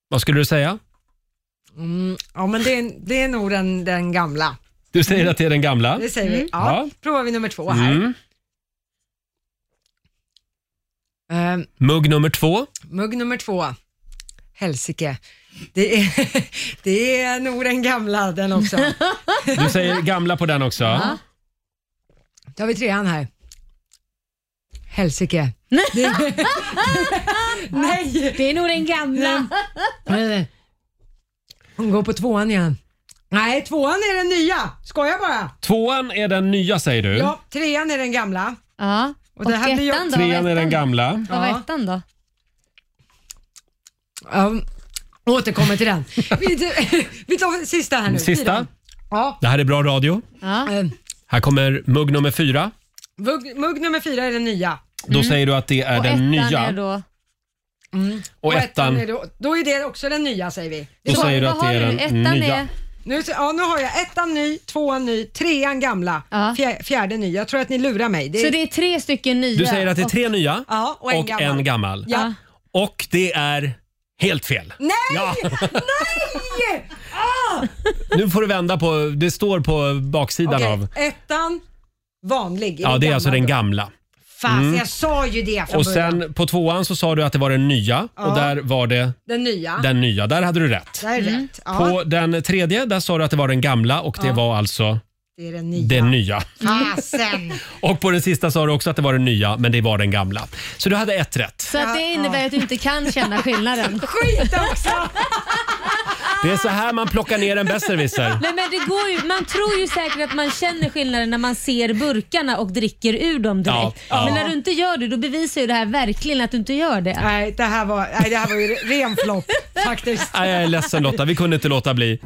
S1: Vad skulle du säga?
S2: Mm, ja men det är, det är nog den, den gamla.
S1: Du säger att det är den gamla.
S2: Mm. Det säger vi. Ja.
S1: Mm. Ja.
S2: Provar vi nummer två här.
S1: Mm.
S2: Ehm,
S1: Mugg nummer två.
S2: Mugg nummer två. Helsike. Det är, det är nog den gamla den också.
S1: Du säger gamla på den också.
S2: Då har vi trean här. Helsike. Nej! Mm.
S4: Det är nog den gamla.
S2: Eh, Hon går på tvåan igen. Nej, tvåan är den nya. Skojar
S1: Mm.
S2: bara.
S1: Tvåan är den nya säger du.
S2: Ja, trean är den gamla.
S4: Ja. Och,
S2: Och det här blir ju-
S4: ettan då?
S1: Trean är den gamla.
S4: Vad var
S2: Ja.
S4: ettan då?
S2: Um, återkommer till den. Vi, vi tar sista här nu.
S1: Sista.
S2: Fyran. Ja.
S1: Det här är bra radio.
S4: Ja.
S2: eh,
S1: Här kommer mugg nummer fyra.
S2: Mugg, mugg nummer fyra är den nya.
S1: Då säger du att det är
S4: Och
S1: den
S4: ettan
S1: nya.
S4: är då...
S1: Och ettan,
S2: är då, då är det också den nya säger vi.
S1: då
S4: Så,
S1: säger du
S4: vad
S1: att det
S4: har
S1: är
S4: du?
S1: den
S4: ettan
S1: nya.
S4: Är...
S2: Nu, ja, nu har jag ettan ny, tvåan ny, trean gamla,
S4: Ja.
S2: fjär, fjärde ny. Jag tror att ni lurar mig. Det är,
S4: Så det är tre stycken nya?
S1: Du säger att det är tre nya
S2: Ja, och en gammal.
S1: en gammal.
S2: ja.
S1: Och det är helt fel.
S2: Nej!
S1: Ja.
S2: Nej!
S1: Nu får du vända på, det står på baksidan
S2: Okej,
S1: av.
S2: ettan, vanlig. i
S1: Ja, det är alltså den
S2: gamla.
S1: gamla.
S2: Fan,
S1: Mm.
S2: jag sa ju det från
S1: Och
S2: början.
S1: sen på tvåan så sa du att det var den nya
S2: Ja.
S1: och där var det
S2: Den nya.
S1: den nya. Där hade du rätt.
S2: Det är rätt. Ja,
S1: På den tredje där sa du att det var den gamla och det
S2: Ja.
S1: var alltså
S2: det är den nya.
S1: den nya.
S2: Fasen!
S1: Och på den sista sa du också att det var den nya men det var den gamla. Så du hade ett rätt.
S4: Så att det innebär att du inte kan känna skillnaden.
S2: Skit också! Ah.
S1: Det är så här man plockar ner en besserwisser.
S4: Nej, men det går ju, man tror ju säkert att man känner skillnaden när man ser burkarna och dricker ur dem direkt.
S1: Ja, ja.
S4: Men när du inte gör det, då bevisar ju det här verkligen att du inte gör det.
S2: Nej, det här var, nej, det här var ju ren flopp faktiskt.
S1: Nej, jag är ledsen Lotta, vi kunde inte låta bli.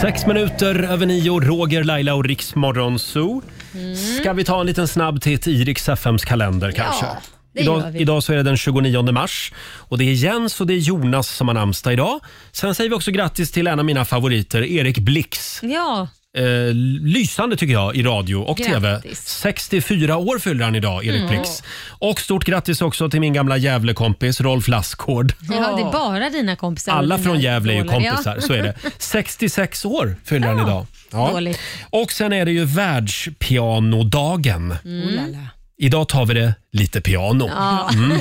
S1: Sex minuter över nio, Roger, Laila och Riksmorgon Zoo.
S4: Mm.
S1: Ska vi ta en liten snabb titt i Rix FMs kalender kanske?
S4: det
S1: idag,
S4: gör vi.
S1: idag så är det den 29 mars och det är Jens och det är Jonas som har namnsdag idag. Sen säger vi också grattis till en av mina favoriter, Erik Blix.
S4: Ja,
S1: Eh, lysande tycker jag i radio och
S4: Grattis.
S1: tv. 64 år fyller han idag, Erik
S4: Mm.
S1: Blix. Och stort grattis också till min gamla Gävlekompis Rolf Lassgård.
S4: ja, det är bara dina kompisar. och
S1: Alla
S4: dina
S1: från Gävle är ju
S4: idoler.
S1: kompisar,
S4: Ja.
S1: så är det. 66 år fyller han idag.
S4: Dåligt.
S1: Och sen är det ju världspianodagen.
S2: Oh,
S4: Mm.
S1: Idag tar vi det lite piano.
S4: Ja.
S1: Mm.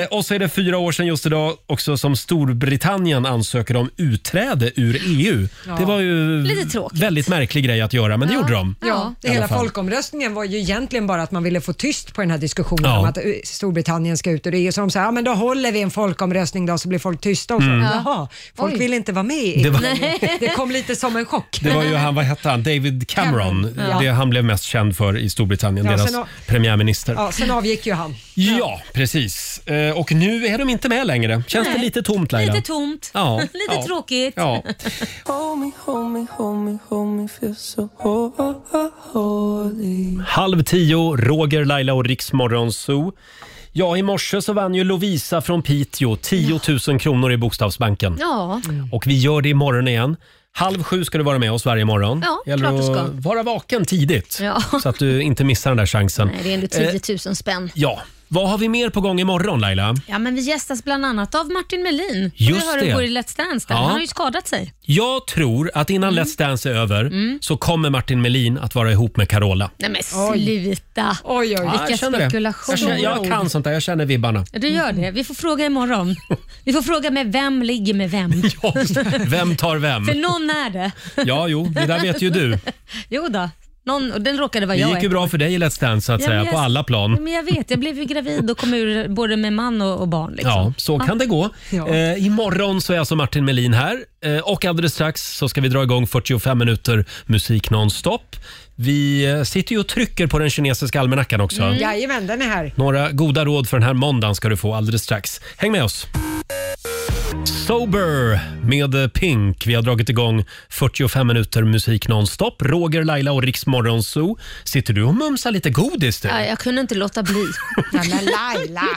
S1: Eh, och så är det fyra år sedan just idag också som Storbritannien ansöker om utträde ur EU.
S2: Ja.
S1: Det var ju
S2: Lite tråkigt.
S1: väldigt märklig grej att göra, men det gjorde de.
S2: Ja,
S1: I
S2: det
S1: alla
S2: hela
S1: fall.
S2: folkomröstningen var ju egentligen bara att man ville få tyst på den här diskussionen
S1: Ja.
S2: om att eh, Storbritannien ska ut ur EU. Så de sa, ja men då håller vi en folkomröstning då så blir folk tysta och så.
S1: Mm. Ja.
S2: Jaha, folk
S1: Oj.
S2: vill inte vara med i EU.
S1: Det
S2: Det,
S1: var-
S2: kom lite som en chock.
S1: Det var ju han, vad hette han, David Cameron.
S2: Cameron, ja.
S1: Det han blev mest känd för i Storbritannien,
S2: Ja,
S1: deras
S2: sen-
S1: premiärminister.
S2: Ja, sen avgick ju han.
S1: Ja, precis. Eh, Och nu är de inte med längre. Känns det
S4: Nej.
S1: lite tomt Laila?
S4: Lite tomt,
S1: Ja,
S4: lite
S1: ja.
S4: tråkigt.
S1: Ja.
S11: Homie, homie, homie, homie, feel so ho- ho- ho- holy.
S1: Halv tio, Roger, Laila och Riksmorgon Zoo. Ja, i morse så vann ju Lovisa från Piteå 10 000 kronor i Bokstavsbanken.
S4: Ja.
S1: Och vi gör det imorgon igen. Halv sju ska du vara med oss varje morgon.
S4: Ja,
S1: Gäller
S4: klart du ska.
S1: att vara vaken tidigt
S4: Ja.
S1: så att du inte missar den där chansen.
S4: Nej, det är ändå
S1: Eh,
S4: 10 000 spänn.
S1: Ja, vad har vi mer på gång imorgon Laila?
S4: Ja, men vi gästas bland annat av Martin Melin.
S1: Just
S4: vi hör
S1: det.
S4: hur går i Let's Dance där.
S1: Ja.
S4: Han har ju skadat sig.
S1: Jag tror att innan
S4: Mm.
S1: Let's Dance är över så kommer Martin Melin att vara ihop med Carola.
S4: Nej men sluta!
S2: Oj,
S1: Ja, jag
S4: Vilka
S1: känner det.
S4: spekulationer.
S1: Jag, känner, jag kan sånt där, jag känner vibbarna.
S4: Ja, Du gör det. Vi får fråga imorgon. Vi får fråga med vem ligger med vem.
S1: Vem tar vem?
S4: För någon är det.
S1: Ja, jo, det där vet ju du.
S4: Jo då. Någon, och den råkade vara
S1: Det
S4: jag.
S1: gick ju
S4: ett
S1: bra
S4: år.
S1: för dig i Let's Dance så att
S4: Ja, men
S1: säga,
S4: jag-
S1: på alla
S4: Ja,
S1: plan.
S4: men jag vet, jag blev ju gravid och kom ur både med man och, och barn. Liksom.
S1: Ja, så kan det gå.
S4: Ja.
S1: Eh, imorgon så är alltså Martin Melin här eh, och alldeles strax så ska vi dra igång 45 minuter musik nonstop. Vi eh, sitter ju och trycker på den kinesiska almanackan också.
S2: Mm. Jajamän, den är här.
S1: Några goda råd för den här måndagen ska du få alldeles strax. Häng med oss! Sober med Pink. Vi har dragit igång 45 minuter musik nonstop. Roger, Laila och Rix Morgonzoo. Sitter du och mumsar lite godis du?
S4: Ja, jag kunde inte låta bli.
S2: men Laila!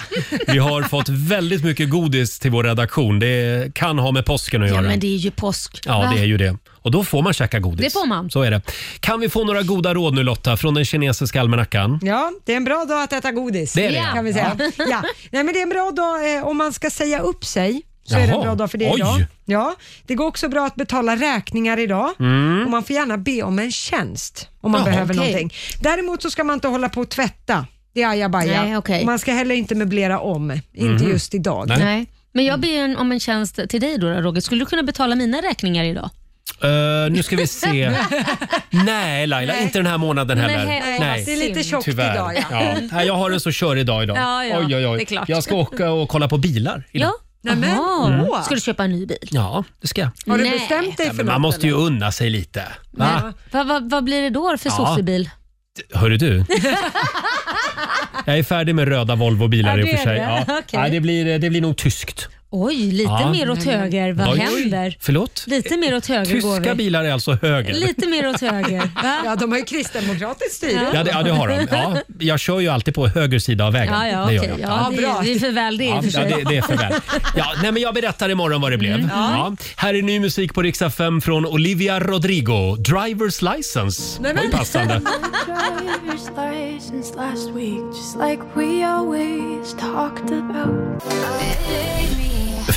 S1: Vi har fått väldigt mycket godis till vår redaktion. Det kan ha med påsken att
S4: Ja,
S1: göra.
S4: men det är ju påsk.
S1: Ja,
S4: va?
S1: det är ju det. Och då får man käka godis.
S4: Det får man.
S1: Så är det. Kan vi få några goda råd nu Lotta från den kinesiska almanackan?
S2: Ja, det är en bra dag att äta godis.
S1: Det är det.
S2: Kan vi säga.
S1: Ja.
S2: Ja. Nej, men det är en bra dag eh, om man ska säga upp sig. Så är det en
S1: Jaha,
S2: bra dag för det
S1: oj.
S2: idag. Ja, det går också bra att betala räkningar idag.
S1: Mm.
S2: Och man får gärna be om en tjänst om man
S4: Jaha,
S2: behöver
S4: okej.
S2: någonting. Däremot så ska man inte hålla på och tvätta. Det är ajabaja.
S4: Nej, okej.
S2: Och Man ska heller inte möblera om. Inte
S4: Mhm.
S2: just idag.
S4: Nej. Men jag ber en, om en tjänst till dig då, Roger. Skulle du kunna betala mina räkningar idag?
S1: Eh, nu ska vi se. Nej, Laila, inte den här månaden heller.
S4: Nej,
S1: Nej,
S4: vad Det är lite synd. tjockt
S1: Tyvärr.
S4: idag, ja.
S1: Ja. Nej, Jag har en så körig dag idag.
S4: Ja, ja,
S1: oj, oj, oj.
S4: det är klart.
S1: Jag ska åka och kolla på bilar idag.
S4: Ja.
S2: Nämen.
S4: Jaha.
S1: Mm.
S4: Ska du köpa en ny bil?
S1: Ja, det ska jag.
S2: Har du
S4: Nej.
S2: bestämt dig
S1: Ja,
S2: för
S1: men man
S2: något?
S1: måste ju unna sig lite. Va?
S4: Nej. Vad vad- vad blir det då för
S1: Ja.
S4: sossebil?
S1: Hörru du. Jag är färdig med röda Volvo-bilar
S4: Ja,
S1: i och
S4: det
S1: för
S4: är
S1: sig.
S4: det.
S1: Ja.
S4: Okej.
S1: Nej, det, blir, det blir nog tyskt.
S4: Oj, lite
S1: Ja.
S4: mer åt höger. Vad
S1: Oj, oj.
S4: händer?
S1: Förlåt?
S4: Lite mer åt höger går vi.
S1: Tyska bilar är alltså höger.
S4: Lite mer åt höger. Va?
S2: Ja, de har ju kristdemokratiskt styre.
S1: Ja det, ja, det har de. Ja, jag kör ju alltid på höger sida av vägen.
S4: Ja, ja,
S1: det gör
S4: okej.
S1: jag.
S4: Ja, det,
S2: bra.
S4: är- det är för väl det i
S1: Ja,
S4: och för
S1: ja,
S4: sig. Mm,
S1: det, det är för väl. Ja, nej, men jag berättar imorgon vad det blev. Ja. Här är ny musik på Riksa 5 från Olivia Rodrigo. Driver's License.
S11: Nej,
S1: var ju
S11: men-
S1: passande.
S11: Driver's license last week, just like we always talked about.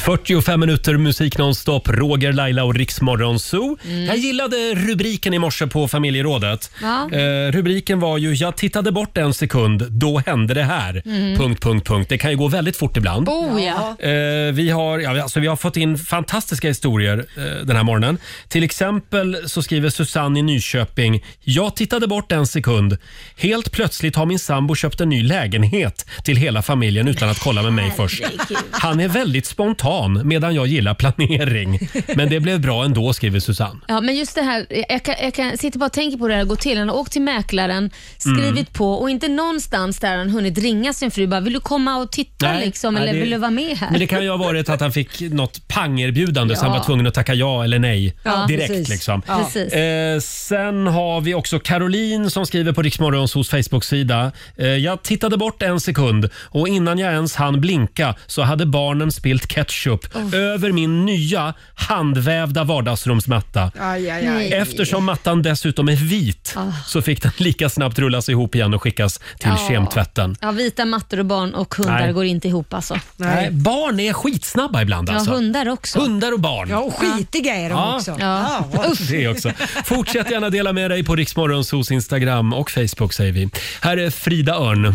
S1: 45 minuter musik nonstop, Roger, Laila och Riksmorgon Zoo.
S4: Mm.
S1: Jag gillade rubriken i morse på familjerådet.
S4: Ja.
S1: Eh, rubriken var ju “Jag tittade bort en sekund, då hände det här”.
S4: Mm.
S1: Punkt, punkt, punkt. Det kan ju gå väldigt fort ibland.
S4: Oh ja.
S1: Eh, vi, har, ja, vi- alltså, vi har fått in fantastiska historier eh, den här morgonen. Till exempel så skriver Susanne i Nyköping. Jag tittade bort en sekund. Helt plötsligt har min sambo köpt en ny lägenhet till hela familjen utan att kolla med mig först. Han är väldigt spontan medan jag gillar planering. Men det blev bra ändå skriver Susanne.
S4: Ja, men just det här, jag, kan, jag kan sitter bara och tänker på hur det här går till. Han har åkt till mäklaren, skrivit
S1: Mm.
S4: på och inte någonstans där har han hunnit ringa sin fru bara “vill du komma och titta
S1: Nej,
S4: liksom,
S1: nej,
S4: eller
S1: det-
S4: vill du vara med här?”
S1: Men det kan ju ha varit att han fick något pangerbjudande så han
S4: Ja.
S1: var tvungen att tacka ja eller nej
S4: Ja,
S1: direkt.
S4: precis.
S1: Liksom.
S4: Ja. Precis.
S1: Eh, sen har vi också Caroline som skriver på Riksmorgons hos Facebook-sida. Eh, jag tittade bort en sekund och innan jag ens hann blinka så hade barnen spilt ketchup över min nya handvävda vardagsrumsmatta.
S2: Aj, aj, aj.
S1: Eftersom mattan dessutom är vit så fick den lika snabbt rullas ihop igen och skickas till
S4: Ah. Ja.
S1: kemtvätten.
S4: Ja, vita mattor och barn och hundar
S1: Nej.
S4: går inte ihop alltså.
S1: Nej, barn är skitsnabba ibland
S4: Ja,
S1: alltså.
S4: hundar också.
S1: Hundar och barn. Ah,
S4: Ja, och skitiga
S2: är
S4: de också. Ja. Usch.
S1: Det också. Fortsätt gärna dela med dig på Riksmorgonsos Instagram och Facebook säger vi. Här är Frida Örn.